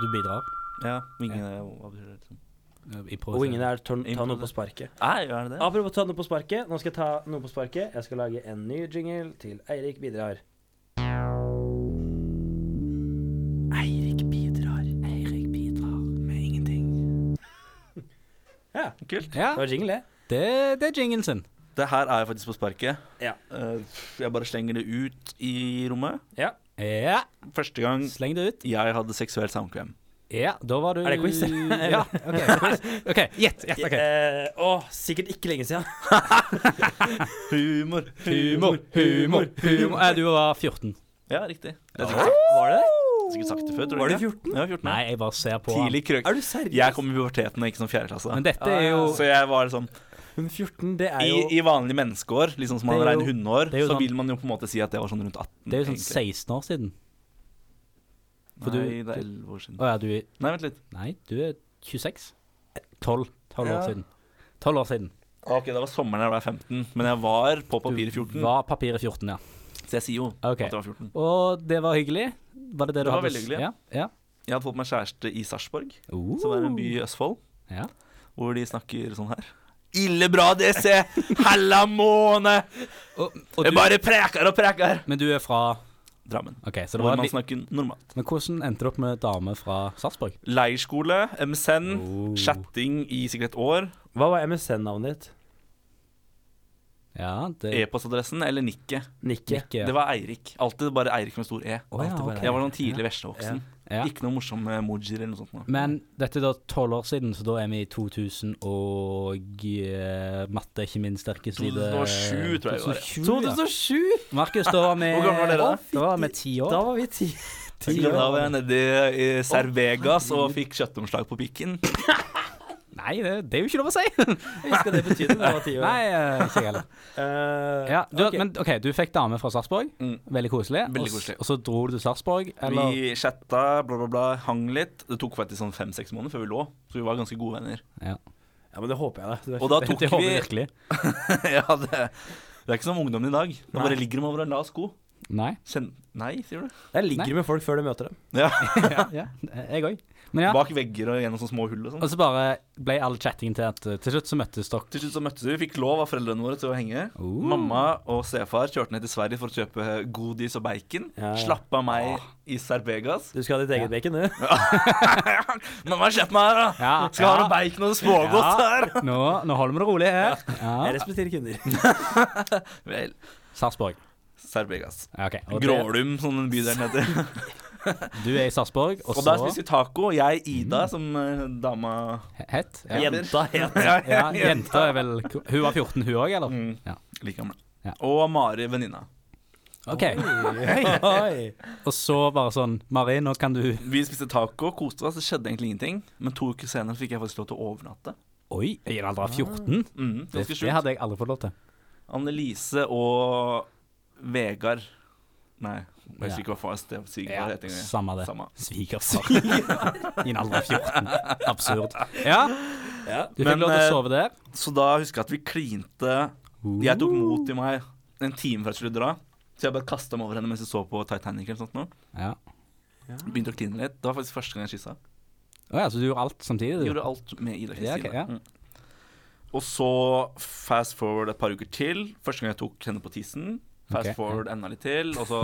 Speaker 1: Du bidrar.
Speaker 3: Ja, vinge, hva betyr det? Liksom?
Speaker 2: Og ingen er tørn, ta noe
Speaker 3: Improvis-
Speaker 2: på sparket.
Speaker 3: Nei, er det det?
Speaker 2: Apropos ta noe på sparket. Nå skal jeg ta noe på sparket. Jeg skal lage en ny jingle til Eirik bidrar.
Speaker 3: Eirik bidrar. Eirik bidrar med ingenting.
Speaker 2: Ja,
Speaker 3: Kult.
Speaker 2: det
Speaker 1: Ja,
Speaker 2: var jingle, det.
Speaker 1: det, det er jinglen sin.
Speaker 3: Det her er jo faktisk på sparket.
Speaker 2: Ja.
Speaker 3: Eh, Jeg bare slenger det ut i rommet.
Speaker 2: Ja.
Speaker 1: Ja,
Speaker 3: Første gang
Speaker 1: sleng det ut.
Speaker 3: jeg hadde seksuelt
Speaker 1: Mm.
Speaker 3: samkvem.
Speaker 1: Ja, da var du
Speaker 2: Er det quiz?
Speaker 1: ja. OK, quiz. Ok, Gjett. gjett, ok.
Speaker 2: Eh, åh, sikkert ikke lenge siden.
Speaker 3: Humor.
Speaker 1: Humor, humor, humor. Eh, du var 14.
Speaker 3: Ja, riktig. Det er
Speaker 2: Var
Speaker 3: sikkert,
Speaker 2: det?
Speaker 3: sikkert sagt det før, tror
Speaker 2: Var
Speaker 3: du
Speaker 2: det
Speaker 3: ikke?
Speaker 2: 14?
Speaker 3: Ja, 14
Speaker 1: Nei,
Speaker 3: ja.
Speaker 1: jeg bare ser på. han.
Speaker 3: Tidlig krøk.
Speaker 2: Er du seriøs?
Speaker 3: Jeg kom i puberteten og ikke som fjerde klasse.
Speaker 1: Men dette er jo
Speaker 3: Så jeg var liksom
Speaker 2: Men 14, det er
Speaker 3: I,
Speaker 2: jo
Speaker 3: i vanlige menneskeår, liksom som man
Speaker 1: Det er
Speaker 3: regner
Speaker 1: jo-
Speaker 3: hundeår,
Speaker 1: det er jo
Speaker 3: så
Speaker 1: sånn-
Speaker 3: vil man jo på en måte si at det var sånn rundt 18.
Speaker 1: Det er jo sånn
Speaker 3: egentlig.
Speaker 1: 16 år siden. for du-
Speaker 3: Nei, det er 11 år siden.
Speaker 1: Å ja, du er
Speaker 3: Nei, vent litt.
Speaker 1: Nei, du er 26. 12. 12 år
Speaker 2: Ja.
Speaker 1: siden. 12 år siden.
Speaker 3: Ok, det var sommeren jeg ble 15, men jeg var på papiret 14.
Speaker 1: Du var papiret 14, ja.
Speaker 3: Så jeg sier jo
Speaker 1: Ok.
Speaker 3: at det var 14.
Speaker 1: Og det var hyggelig? Var det det du
Speaker 3: Det var
Speaker 1: hadde?
Speaker 3: veldig hyggelig.
Speaker 1: Ja. ja.
Speaker 3: Jeg hadde fått meg kjæreste i Sarpsborg,
Speaker 1: Uh.
Speaker 3: som er en by i Østfold,
Speaker 1: Ja.
Speaker 3: hvor de snakker sånn her. Ille bra, DC! Halla måne!
Speaker 1: Og, og
Speaker 3: Jeg
Speaker 1: du,
Speaker 3: bare preker og preker!
Speaker 1: men du er fra
Speaker 3: Drammen.
Speaker 1: OK, så det
Speaker 3: Hvor
Speaker 1: var
Speaker 3: man
Speaker 1: litt
Speaker 3: snakker normalt.
Speaker 1: Men hvordan endte du opp med dame fra Sarpsborg?
Speaker 3: Leirskole, MSN,
Speaker 1: Oh.
Speaker 3: chatting i sikkert et år.
Speaker 2: Hva var MSN-navnet ditt?
Speaker 1: Ja, det
Speaker 3: E-postadressen eller nikket.
Speaker 2: Nikke.
Speaker 1: Nikke.
Speaker 3: E- Det var Eirik. Alltid bare Eirik med stor E.
Speaker 1: Å, ja,
Speaker 3: Alltid bare
Speaker 1: ok.
Speaker 3: Jeg var noen tidlig veslevoksen.
Speaker 1: Ja.
Speaker 3: Ikke noe morsom emojier eller noe sånt. nå.
Speaker 1: Men dette er da tolv år siden, så da er vi i 2000 og eh, Matte er ikke min sterke side.
Speaker 3: 2007 tror jeg det var, ja.
Speaker 1: 2007,
Speaker 2: 2007!
Speaker 1: Mm, ja. Markus, da var vi
Speaker 3: Hvor gamle var dere da?
Speaker 1: Å, fytti- Da var vi ti år.
Speaker 2: Da var vi ti.
Speaker 3: Jeg husker Da var jeg nede i i Cervegas og fikk kjøttomslag på pikken.
Speaker 1: Nei, det, det er jo ikke lov å si!
Speaker 2: Hva skal det bety? når Vi var ti år.
Speaker 1: Nei, eh, ikke jeg heller.
Speaker 2: Eh,
Speaker 1: Ja, du,
Speaker 2: ok.
Speaker 1: Men OK, du fikk dame fra Sarpsborg.
Speaker 3: Mm.
Speaker 1: Veldig koselig.
Speaker 3: Veldig
Speaker 1: Og s-
Speaker 3: koselig.
Speaker 1: Og så dro du til Sarpsborg, eller
Speaker 3: Vi chatta, bla, bla, bla, hang litt. Det tok faktisk sånn fem-seks måneder før vi lå, så vi var ganske gode venner.
Speaker 1: ja.
Speaker 2: ja, men det håper jeg, da.
Speaker 3: Og da
Speaker 1: Det,
Speaker 3: tok
Speaker 1: det håper jeg
Speaker 3: vi
Speaker 1: virkelig.
Speaker 3: Ja, det, det er ikke som ungdommen i dag. Nå bare ligger de over en lav sko.
Speaker 1: Nei.
Speaker 3: Kjenn Nei, sier du?
Speaker 2: Jeg ligger med folk før du møter dem.
Speaker 3: Ja.
Speaker 1: Ja, ja. Jeg òg. Men ja.
Speaker 3: Bak vegger og gjennom sånne små hull og sånn.
Speaker 1: Og så bare ble all chattingen til at eh, til slutt så møttes dere.
Speaker 3: Til slutt så møttes vi, fikk lov av foreldrene våre til å henge.
Speaker 1: Oh.
Speaker 3: Mamma og stefar kjørte ned til Sverige for å kjøpe godis og bacon.
Speaker 2: Ja.
Speaker 3: Slapp av meg
Speaker 1: Ah.
Speaker 3: i Sarbegas.
Speaker 2: Du skal ha ditt eget bacon, du.
Speaker 3: Mamma, kjøp meg her, da!
Speaker 1: Ja,
Speaker 3: Skal ha
Speaker 1: ja.
Speaker 3: noe bacon og smågodt
Speaker 1: Ja.
Speaker 3: her!
Speaker 1: Nå, nå holder vi det rolig her.
Speaker 2: Jeg
Speaker 1: Ja.
Speaker 2: respekterer kunder.
Speaker 3: Vel,
Speaker 1: Sarpsborg.
Speaker 3: Sarbegas.
Speaker 1: Ja, ok. Og det,
Speaker 3: Grålum, som den bydelen heter.
Speaker 1: du er i Sarpsborg, og
Speaker 3: Og
Speaker 1: så Mm.
Speaker 3: der spiser vi taco. og Jeg, Ida, som eh, dama
Speaker 1: He- Het? Ja.
Speaker 2: Jenta het
Speaker 3: ja,
Speaker 1: ja, jenta er vel Hun var 14, hun òg, eller?
Speaker 3: Mm,
Speaker 1: Ja.
Speaker 3: Like gammel.
Speaker 1: Ja.
Speaker 3: Og Mari, venninna.
Speaker 1: OK.
Speaker 2: Oi.
Speaker 1: Og så bare sånn Mari, nå kan du
Speaker 3: Vi spiste taco, koste oss, det skjedde egentlig ingenting. Men to uker senere fikk jeg faktisk lov til å overnatte.
Speaker 1: Oi, i en alder av 14? Det,
Speaker 3: Mm, ganske
Speaker 1: det
Speaker 3: sjukt.
Speaker 1: hadde jeg aldri fått lov til.
Speaker 3: Annelise og Vegard Nei, jeg
Speaker 1: Ja.
Speaker 3: husker ikke hva far sted
Speaker 1: Ja,
Speaker 3: svigerfar het engang.
Speaker 1: samme det.
Speaker 3: Samme.
Speaker 1: Svigerfar. I en alder av 14. Absurd. Ja,
Speaker 2: Ja.
Speaker 1: du
Speaker 3: Men,
Speaker 1: fikk lov til å
Speaker 3: eh,
Speaker 1: sove der.
Speaker 3: Så da husker jeg at vi klinte. Jeg tok mot i meg en time før jeg skulle dra. Så jeg bare kasta meg over henne mens jeg så på Titanic. eller sånt nå.
Speaker 1: Ja.
Speaker 3: Begynte å kline litt. Det var faktisk første gang jeg kyssa.
Speaker 1: Å ja, så du gjorde alt
Speaker 3: Jeg
Speaker 1: samtidig, du?
Speaker 3: Gjorde alt med Ida
Speaker 1: Ja,
Speaker 3: Kristine.
Speaker 1: ok, ja.
Speaker 3: Mm. Og så fast forward et par uker til. Første gang jeg tok henne på tissen. Fast
Speaker 1: Ok, ja.
Speaker 3: forward enda litt til. Og så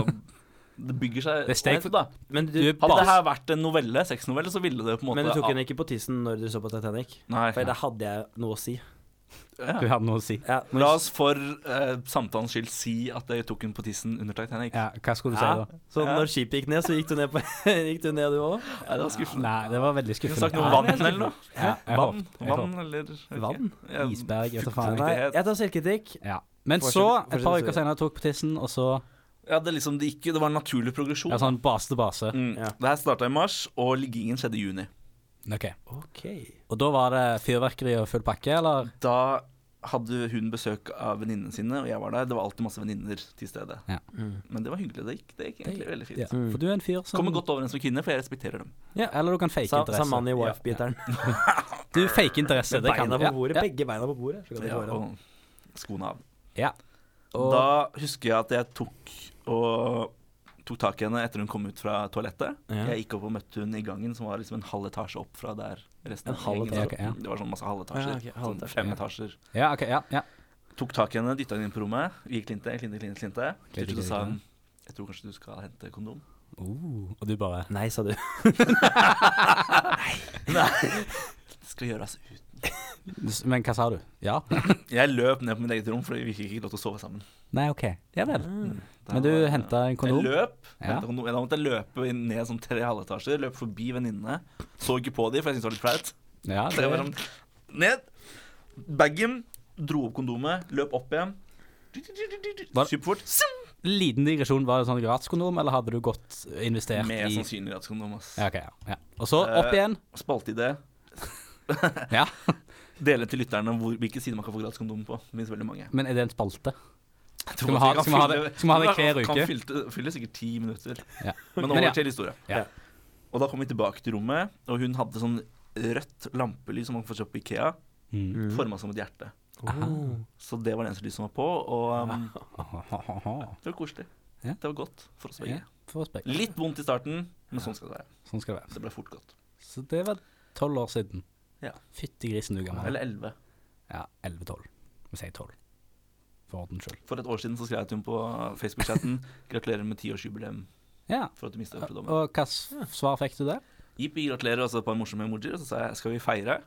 Speaker 3: Det bygger seg
Speaker 1: Det er steg for-
Speaker 3: da.
Speaker 2: Men du,
Speaker 1: Du er
Speaker 3: Hadde
Speaker 1: bas-
Speaker 3: det her vært en novelle, sexnovelle, så ville det på en måte
Speaker 2: men du tok henne ikke på tissen når du så på Titanic?
Speaker 3: Nei.
Speaker 2: For da hadde jeg noe å si.
Speaker 1: Du hadde noe å si.
Speaker 2: Ja,
Speaker 3: Men La oss for eh, samtalens skyld si at jeg tok henne på tissen under Titanic.
Speaker 1: Ja, hva skulle du si
Speaker 2: ja.
Speaker 1: da?
Speaker 2: Så
Speaker 3: Ja.
Speaker 2: når skipet gikk ned, så gikk du ned, på, gikk du, ned du òg?
Speaker 3: Ja, det var skuffende.
Speaker 1: Nei, det var veldig
Speaker 3: Kunne sagt
Speaker 1: skuffende.
Speaker 3: noe om vann eller noe.
Speaker 1: Ja, jeg
Speaker 3: Vann,
Speaker 1: håpet- jeg
Speaker 3: vann eller jeg vet
Speaker 2: Vann?
Speaker 3: ikke. Ja,
Speaker 1: Isberg, vet du faen.
Speaker 2: Nei, jeg tar selvkritikk.
Speaker 1: Ja. Men
Speaker 2: Fortsett-
Speaker 1: så, et par
Speaker 2: fortsett,
Speaker 1: uker
Speaker 2: sorry.
Speaker 1: senere, tok på tissen, og så
Speaker 3: Ja, det, er liksom, det, gikk, jo- det var en naturlig progresjon.
Speaker 1: ja, sånn base til base.
Speaker 3: mm.
Speaker 2: Ja.
Speaker 3: Det her starta i mars, og liggingen skjedde i juni. Mm.
Speaker 1: Ok.
Speaker 2: OK.
Speaker 1: Og da var det fyrverkeri og full pakke, eller?
Speaker 3: Da hadde hun besøk av venninnene sine, og jeg var der. Det var alltid masse venninner til stede.
Speaker 1: Ja.
Speaker 2: Mm.
Speaker 3: Men det var hyggelig. Det gikk, det gikk egentlig veldig fint.
Speaker 1: Ja. For du er en fyr som
Speaker 3: Kommer godt overens med kvinner, for jeg respekterer dem.
Speaker 1: Ja, eller du kan fake
Speaker 2: Sa,
Speaker 1: interesse.
Speaker 2: sa mannen i
Speaker 1: Ja.
Speaker 2: wife-biteren.
Speaker 1: Du fake interesse,
Speaker 2: Med
Speaker 1: det kan du.
Speaker 2: beina
Speaker 1: Ja,
Speaker 2: på bordet,
Speaker 1: ja.
Speaker 2: begge beina på bordet. Så kan det
Speaker 3: Ja,
Speaker 2: gå an.
Speaker 3: og skoene av.
Speaker 1: Ja. Og
Speaker 3: Da husker jeg at jeg tok og tok tak i henne etter hun kom ut fra toalettet.
Speaker 2: Ja.
Speaker 3: Jeg gikk opp og møtte hun i gangen, som var liksom en halv etasje opp fra der resten
Speaker 2: En
Speaker 3: av
Speaker 2: halv
Speaker 3: gjengen
Speaker 1: etasje,
Speaker 3: var.
Speaker 1: ok, ja.
Speaker 3: Det var sånn masse halvetasjer.
Speaker 2: Ja, ok, halv
Speaker 3: sånn
Speaker 2: etasje,
Speaker 3: fem
Speaker 1: ja.
Speaker 3: etasjer.
Speaker 1: Ja, OK, ja. ja.
Speaker 3: Tok tak i henne, dytta henne inn på rommet. Vi klinte, klinte, klinte. klinte.
Speaker 1: Klinte,
Speaker 3: Til slutt så sa
Speaker 1: klinte.
Speaker 3: hun jeg tror kanskje du skal hente kondom.
Speaker 1: Uh, og du bare
Speaker 2: Nei, sa du.
Speaker 3: Nei. Det skal gjøres uten.
Speaker 1: Men hva sa du? Ja?
Speaker 3: Jeg løp ned på mitt eget rom, fordi vi fikk ikke lov til å sove sammen.
Speaker 1: Nei, OK. Ja vel.
Speaker 2: Mm.
Speaker 3: Da
Speaker 1: Men du
Speaker 3: var-
Speaker 1: henta en
Speaker 3: Jeg
Speaker 1: kondom?
Speaker 3: løp.
Speaker 1: Ja.
Speaker 3: hentet kondom. Da måtte jeg løpe inn ned sånn tre halvetasjer, løp forbi venninnene. Så ikke på de, for jeg syntes det var litt flaut.
Speaker 1: Ja,
Speaker 3: Så jeg var
Speaker 1: det,
Speaker 3: sånn Ned. Bagen. Dro opp kondomet, løp opp igjen.
Speaker 1: Var-
Speaker 3: Superfort. Sim!
Speaker 1: liten digresjon. Var det sånn gratiskondom, eller hadde du godt eh, investert
Speaker 3: Med
Speaker 1: i
Speaker 3: sannsynlig rettskondom. ass.
Speaker 1: ja, ok, ja, ja. Og så opp
Speaker 3: Eh,
Speaker 1: igjen.
Speaker 3: Spalte i det.
Speaker 1: Ja.
Speaker 3: Dele til lytterne hvor, hvilke sider man kan få gratskondom på. Det finnes veldig mange.
Speaker 1: Men er det en spalte?
Speaker 3: Jeg
Speaker 1: Skal
Speaker 3: tror
Speaker 1: vi
Speaker 3: at
Speaker 1: ha-
Speaker 3: kan
Speaker 1: skal vi ha
Speaker 3: fylle-
Speaker 1: det- skal vi ha det hver
Speaker 3: kan-
Speaker 1: uke?
Speaker 3: Kan fylle, fylle sikkert ti minutter.
Speaker 1: Ja.
Speaker 3: Men
Speaker 1: Men
Speaker 3: over
Speaker 1: ja.
Speaker 3: til historie.
Speaker 1: Ja.
Speaker 3: Og da kom vi tilbake til rommet, og hun hadde sånn rødt lampelys som man får kjøpt på Ikea,
Speaker 1: Mm.
Speaker 3: Formet forma som et hjerte. Så det var det eneste lyset som var på, og um, det var koselig.
Speaker 1: Ja.
Speaker 3: Det var godt for oss
Speaker 1: Ja.
Speaker 3: begge.
Speaker 1: For respekt.
Speaker 3: Litt vondt i starten, men sånn skal det være.
Speaker 1: Sånn skal det være.
Speaker 3: Så det ble fort godt.
Speaker 1: Så det var tolv år siden.
Speaker 3: Ja.
Speaker 1: Fytti grisen, du gammel.
Speaker 3: Eller elleve.
Speaker 1: Ja, 11-12. Vi sier 12. For ordens skyld.
Speaker 3: For et år siden så skrev jeg til henne på Facebook-chatten 'Gratulerer med tiårsjubileum
Speaker 1: Ja.
Speaker 3: for at du mistet
Speaker 1: Og
Speaker 3: ørfredommen'.
Speaker 1: hva s- svar fikk du der?
Speaker 3: Jippi, gratulerer, og så et par morsomme emojier. Og så sa jeg 'Skal vi feire?'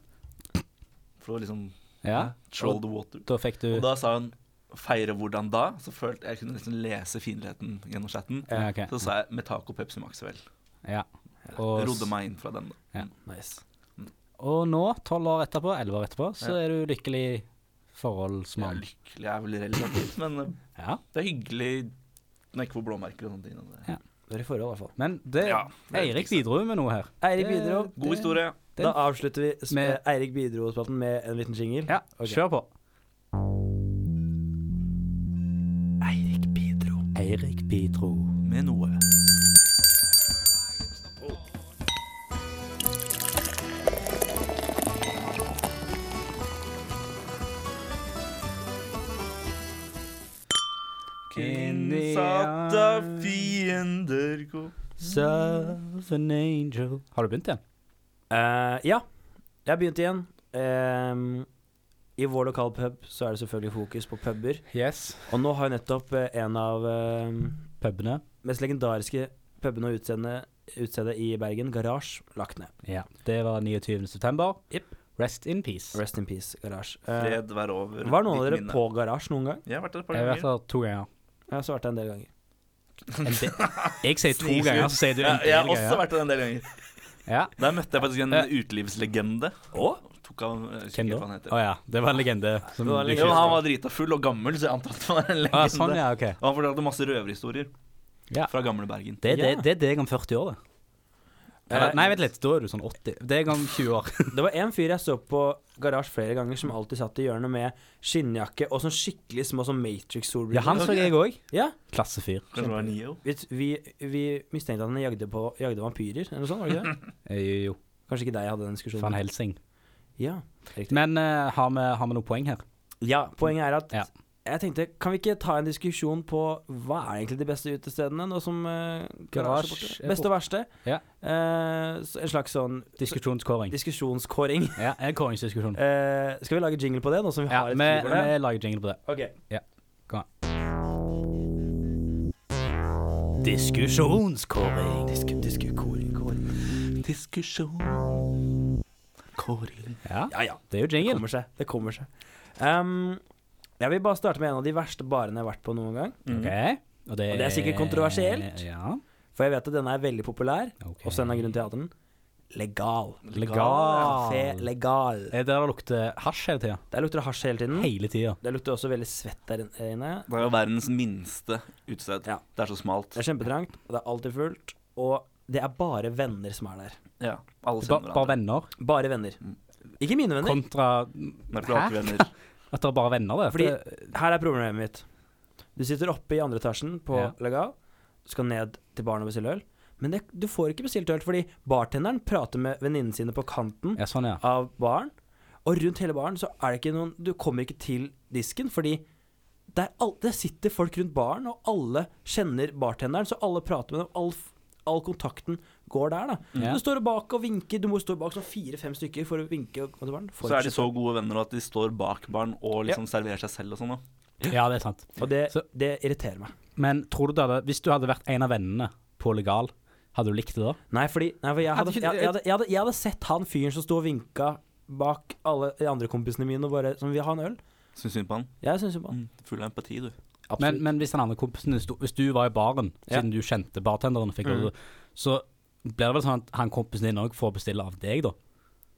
Speaker 3: For å liksom
Speaker 1: Ja.
Speaker 3: troll
Speaker 1: Og
Speaker 3: the water.
Speaker 1: da fikk du
Speaker 3: Og da sa hun 'feire hvordan da?' Så følte jeg kunne liksom lese finligheten gjennom chatten.
Speaker 1: ja, ok.
Speaker 3: Så sa jeg 'med taco Pepsi Max vel'.
Speaker 1: ja. Og,
Speaker 3: Rodde meg inn fra den. da.
Speaker 2: Nice.
Speaker 1: og nå, tolv år etterpå, elleve år etterpå, så
Speaker 3: Ja.
Speaker 1: er du lykkelig
Speaker 3: Jeg er
Speaker 1: forholdsmann.
Speaker 3: lykkelig jeg er vel relativt, men eh,
Speaker 1: Ja.
Speaker 3: det er hyggelig når jeg ikke får blåmerker og sånne ting. og det-
Speaker 1: Ja.
Speaker 2: Du er i forhold, i hvert fall.
Speaker 1: Men det,
Speaker 3: Ja, det er
Speaker 1: Eirik
Speaker 3: viktigste.
Speaker 1: bidro jo med noe her.
Speaker 2: Eirik
Speaker 1: Det-
Speaker 2: bidro.
Speaker 3: God historie.
Speaker 1: Den-
Speaker 2: Da avslutter vi sp-
Speaker 1: Med-
Speaker 2: Eirik Bidro-spalten med en liten jingle.
Speaker 1: Ja,
Speaker 2: Ok.
Speaker 1: kjør på.
Speaker 2: Eirik Bidro.
Speaker 1: Eirik bidro.
Speaker 3: Med noe. Innsatt av fiender går
Speaker 1: Serve an angel. Har du begynt igjen?
Speaker 2: Eh, ja, jeg har begynt igjen. Ehm, I vår lokalpub så er det selvfølgelig fokus på puber.
Speaker 1: Yes.
Speaker 2: Og nå har jo nettopp eh, en av ehm,
Speaker 1: Pubene.
Speaker 2: mest legendariske pubene og utseende- utstedet i Bergen, Garage, lagt ned.
Speaker 1: Ja. Det var 29. september.
Speaker 2: Jep.
Speaker 1: Rest in peace.
Speaker 2: Rest in peace, Garage. Eh,
Speaker 3: Fred være over
Speaker 2: var noen av
Speaker 3: ditt
Speaker 2: dere
Speaker 3: minne.
Speaker 2: på Garage noen gang?
Speaker 3: Jeg har vært der et par
Speaker 1: Jeg har vært
Speaker 3: ganger.
Speaker 1: der to ganger.
Speaker 2: Jeg har svart en del ganger.
Speaker 1: En del. Jeg sier to
Speaker 3: Snikskudd.
Speaker 1: ganger, så sier du
Speaker 3: Ja,
Speaker 1: en del
Speaker 3: jeg har også
Speaker 1: ganger.
Speaker 3: vært der en del ganger.
Speaker 1: Ja.
Speaker 3: Der møtte jeg faktisk en
Speaker 1: Eh.
Speaker 3: utelivslegende. Tok av, jeg
Speaker 1: Hvem
Speaker 3: husker ikke
Speaker 1: da?
Speaker 3: hva han
Speaker 1: Å
Speaker 3: heter.
Speaker 1: ja, det var en legende. Som
Speaker 2: Det var en
Speaker 1: du
Speaker 2: legende.
Speaker 3: Jo,
Speaker 1: ikke-
Speaker 3: han var drita full og gammel, så jeg antar at han er
Speaker 1: Å,
Speaker 3: en
Speaker 1: ja, sånn,
Speaker 3: legende.
Speaker 1: ja, ok.
Speaker 3: Og han fortalte masse røverhistorier
Speaker 1: Ja.
Speaker 3: fra gamle Bergen.
Speaker 1: Det, er
Speaker 2: Ja.
Speaker 1: det, det er deg om 40 år, det. Eller, nei, vent litt, da er du sånn 80. Deg om 20 år.
Speaker 2: Det var en fyr jeg så på garasje flere ganger, som alltid satt i hjørnet med skinnjakke og sånn skikkelig små sånn Matrix-solbriller.
Speaker 1: Ja, han så jeg òg.
Speaker 2: Ja,
Speaker 1: Klassefyr.
Speaker 3: Kanskje det var Neo?
Speaker 2: vi, vi, vi mistenkte at han jagde, på, jagde vampyrer, eller noe sånt, var det ikke det?
Speaker 1: Eh, Jo,
Speaker 2: Kanskje ikke deg hadde den
Speaker 1: Van
Speaker 2: diskusjonen.
Speaker 1: Helsing.
Speaker 2: Ja, riktig.
Speaker 1: Men eh, har, vi, har vi noe poeng her?
Speaker 2: ja, poenget er at
Speaker 1: Ja.
Speaker 2: jeg tenkte, kan vi ikke ta en diskusjon på hva er egentlig de beste utestedene, nå som eh, garasje er
Speaker 1: Garasje
Speaker 2: borte?
Speaker 1: er
Speaker 2: Beste og verste.
Speaker 1: Ja.
Speaker 2: Eh, så en slags sånn
Speaker 1: Diskusjonskåring.
Speaker 2: diskusjonskåring.
Speaker 1: Ja, en kåringsdiskusjon.
Speaker 2: Eh, skal vi lage jingle på det, nå som vi
Speaker 1: Ja,
Speaker 2: har
Speaker 1: vi,
Speaker 2: et jingle på det?
Speaker 1: vi lager jingle på det.
Speaker 2: Ok.
Speaker 1: Diskusjonskåring.
Speaker 2: Disku, disku, koring, koring.
Speaker 3: Diskusjon. Kåring.
Speaker 1: Ja,
Speaker 2: Ja, ja.
Speaker 1: det er jo
Speaker 2: Det
Speaker 1: jingle.
Speaker 2: kommer seg. Det kommer seg. Ehm, jeg vil bare starte med en av de verste barene jeg har vært på noen gang.
Speaker 3: Mm.
Speaker 1: Ok. Og det,
Speaker 2: Og det er sikkert kontroversielt.
Speaker 1: Ja,
Speaker 2: For jeg vet at denne er veldig populær,
Speaker 1: ok.
Speaker 2: også en av grunnen til at jeg hadde den. Legal.
Speaker 1: Legal.
Speaker 2: Café legal.
Speaker 1: Er det der det Eh, lukter hasj hele tida?
Speaker 2: Der lukter det hasj hele tiden.
Speaker 1: Hele tida.
Speaker 2: Det lukter også veldig svett der inne.
Speaker 3: Det er jo verdens minste utested.
Speaker 2: Ja.
Speaker 3: Det er så smalt.
Speaker 2: Det er kjempetrangt, og det er alltid fullt. Og det er bare venner som er der.
Speaker 3: Ja.
Speaker 1: Ba,
Speaker 3: Alle kjenner
Speaker 1: bare
Speaker 3: hverandre.
Speaker 1: venner?
Speaker 2: Bare venner.
Speaker 1: Mm.
Speaker 2: Ikke mine venner.
Speaker 1: Kontra
Speaker 3: Nei, for du har ikke venner.
Speaker 1: at det er bare venner, det.
Speaker 2: Fordi-
Speaker 1: det-
Speaker 2: Her er problemet mitt. Du sitter oppe i andre etasjen på
Speaker 1: Ja.
Speaker 2: Legal, skal ned til baren og bestille øl. Men det, du får ikke bestilt øl, fordi bartenderen prater med venninnene sine på kanten
Speaker 1: Ja, sånn, ja.
Speaker 2: av baren. Og rundt hele baren så er det ikke noen Du kommer ikke til disken, fordi der, al- der sitter folk rundt baren, og alle kjenner bartenderen, så alle prater med dem. All, f- all kontakten går der, da.
Speaker 1: Ja.
Speaker 2: Du står bak og vinker. Du må stå bak sånn fire-fem stykker for å vinke og gå til baren. Får
Speaker 3: Så er de
Speaker 2: ikke
Speaker 3: så gode venner at de står bak barn og liksom serverer seg selv og sånn. da.
Speaker 1: ja, det er sant.
Speaker 2: Og det,
Speaker 1: så-
Speaker 2: det irriterer meg.
Speaker 1: Men tror du det hadde, hvis du hadde vært en av vennene på legal, hadde du likt det da?
Speaker 2: Nei, fordi nei, for jeg,
Speaker 1: Hadde
Speaker 2: hadde,
Speaker 1: ikke
Speaker 2: jeg,
Speaker 1: du-
Speaker 2: jeg, hadde, jeg, hadde, jeg hadde sett han fyren som sto og vinka bak alle de andre kompisene mine og bare Som vil ha en øl.
Speaker 3: Syns synd på han.
Speaker 2: Jeg syns jo på han.
Speaker 3: Mm, full av empati, du.
Speaker 1: Men, men hvis den andre kompisen din sto Hvis du var i baren,
Speaker 2: Ja.
Speaker 1: siden du kjente bartenderen, og fikk
Speaker 2: Mm.
Speaker 1: ordet, så blir det vel sånn at han kompisen din òg får bestille av deg, da?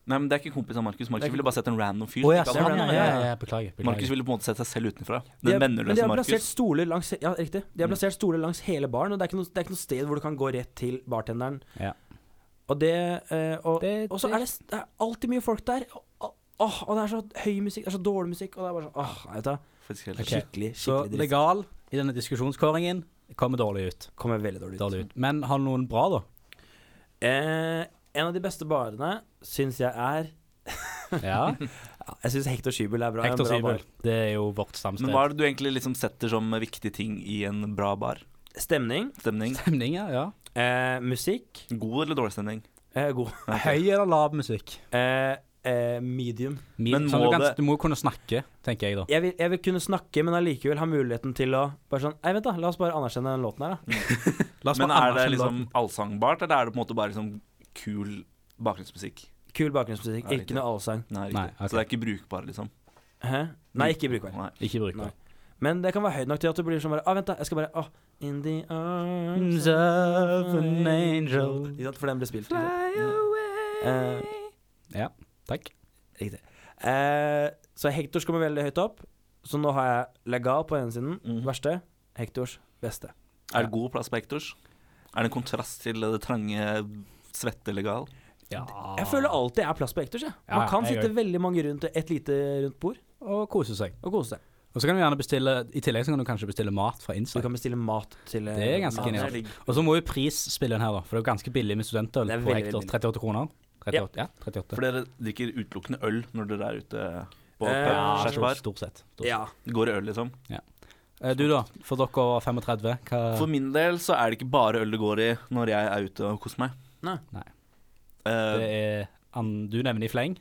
Speaker 3: Nei, men Det er ikke kompis av Markus. Markus
Speaker 2: Det er
Speaker 3: ville bare sett en random
Speaker 1: Å
Speaker 3: fyr. som
Speaker 1: ja,
Speaker 3: ikke
Speaker 2: ser
Speaker 3: hadde
Speaker 1: sånn,
Speaker 2: han,
Speaker 1: ja,
Speaker 3: venner.
Speaker 1: ja,
Speaker 2: ja.
Speaker 1: ja, ja, beklager.
Speaker 3: Markus
Speaker 1: beklager.
Speaker 3: ville på en måte sett seg selv utenfra.
Speaker 2: De
Speaker 3: Den
Speaker 2: har- men de
Speaker 3: venneløse
Speaker 2: har plassert
Speaker 3: Markus.
Speaker 2: stoler langs Ja, riktig. De har
Speaker 3: Mm.
Speaker 2: plassert stoler langs hele baren, og det er ikke noe, det er ikke noe sted hvor du kan gå rett til bartenderen.
Speaker 1: Ja.
Speaker 2: Og det eh, Og,
Speaker 1: Det-
Speaker 2: og så er det, s- det er alltid mye folk der. Og, og, åh, og det er så høy musikk, det er så dårlig musikk, og det er bare sånn åh, jeg vet da.
Speaker 3: Faktisk helt
Speaker 1: Ok.
Speaker 3: rett.
Speaker 2: Skikkelig,
Speaker 1: Så
Speaker 2: skikkelig dritt.
Speaker 1: legal i denne diskusjonskåringen kommer dårlig ut.
Speaker 2: Kommer veldig dårlig ut.
Speaker 1: Dårlig ut. Men har du noen bra, da?
Speaker 2: Eh, en av de beste barene syns jeg er
Speaker 1: Ja.
Speaker 2: ja, Jeg syns Hector Schybel er bra. en
Speaker 1: Hector
Speaker 2: bra bar.
Speaker 1: Sybel. Det er jo vårt stamsted.
Speaker 3: Men hva er det du egentlig liksom setter som viktige ting i en bra bar?
Speaker 2: Stemning,
Speaker 3: Stemning?
Speaker 1: Stemning, ja. ja.
Speaker 2: eh, musikk,
Speaker 3: God eller dårlig stemning?
Speaker 2: eh, god.
Speaker 1: Høy eller lav musikk?
Speaker 2: Eh, eh, medium.
Speaker 1: Min,
Speaker 3: Men
Speaker 1: sånn,
Speaker 3: må
Speaker 1: du, kan,
Speaker 3: det-
Speaker 1: du må jo kunne snakke, tenker jeg, da.
Speaker 2: jeg vil, jeg vil kunne snakke, men allikevel ha muligheten til å bare sånn Nei, vent, da. La oss bare anerkjenne den låten her, da.
Speaker 1: La oss
Speaker 3: Men
Speaker 1: bare
Speaker 3: er
Speaker 1: anerkjenne
Speaker 3: det liksom
Speaker 1: låten.
Speaker 3: allsangbart, eller er det på en måte bare liksom kul bakgrunnsmusikk?
Speaker 2: Kul bakgrunnsmusikk.
Speaker 3: Ja,
Speaker 2: Ikke noe allsang.
Speaker 3: Nei,
Speaker 1: Nei,
Speaker 3: riktig. Så det er ikke brukbar, liksom?
Speaker 2: Hæ?
Speaker 3: Mm.
Speaker 2: Nei, ikke brukbar.
Speaker 3: Nei.
Speaker 1: Ikke bruk det.
Speaker 2: Nei. Men det kan være høyt nok til at du blir sånn bare Å, vent, da. Jeg skal bare Å. In the arms
Speaker 1: of an angel.
Speaker 2: Ikke sant? For den ble spilt. Eh,
Speaker 3: away.
Speaker 1: Takk.
Speaker 2: Riktig. Eh, så Hektors kommer veldig høyt opp. Så nå har jeg legal på ene siden.
Speaker 3: Mhm.
Speaker 2: Verste. Hektors beste.
Speaker 3: Er det god plass på Hectors? Er det en kontrast til det trange svettelegal?
Speaker 1: Ja.
Speaker 2: Jeg føler alltid jeg har plass på Hektors, jeg.
Speaker 1: Ah. Ja,
Speaker 2: Man
Speaker 1: ja,
Speaker 2: kan
Speaker 1: jeg
Speaker 2: sitte veldig mange rundt et lite rundt bord
Speaker 1: Og kose seg.
Speaker 2: og kose seg.
Speaker 1: Og så kan du gjerne bestille I tillegg så kan du kanskje bestille mat fra
Speaker 2: Så
Speaker 1: Insta.
Speaker 2: du kan bestille mat til eh,
Speaker 1: Det er ganske
Speaker 2: mat.
Speaker 1: genialt. Og så må jo pris spille inn her, da. For det er jo ganske billig med studentøl
Speaker 2: Det er
Speaker 1: på
Speaker 2: veldig,
Speaker 1: Hector.
Speaker 2: veldig
Speaker 1: 38 kroner. 38, ja, 38.
Speaker 3: For dere drikker utelukkende øl når dere er ute på
Speaker 2: Eh,
Speaker 3: pub,
Speaker 1: ja,
Speaker 2: er
Speaker 1: stort,
Speaker 3: skjærbar?
Speaker 1: stort sett. Stort.
Speaker 2: Ja.
Speaker 3: Det Går i øl, liksom?
Speaker 1: Eh, Du da, for dere over 35, hva
Speaker 3: For min del så er det ikke bare øl det går i når jeg er ute og koser meg.
Speaker 2: Nei.
Speaker 1: Nei.
Speaker 3: Eh,
Speaker 1: det er an, Du nevner i fleng.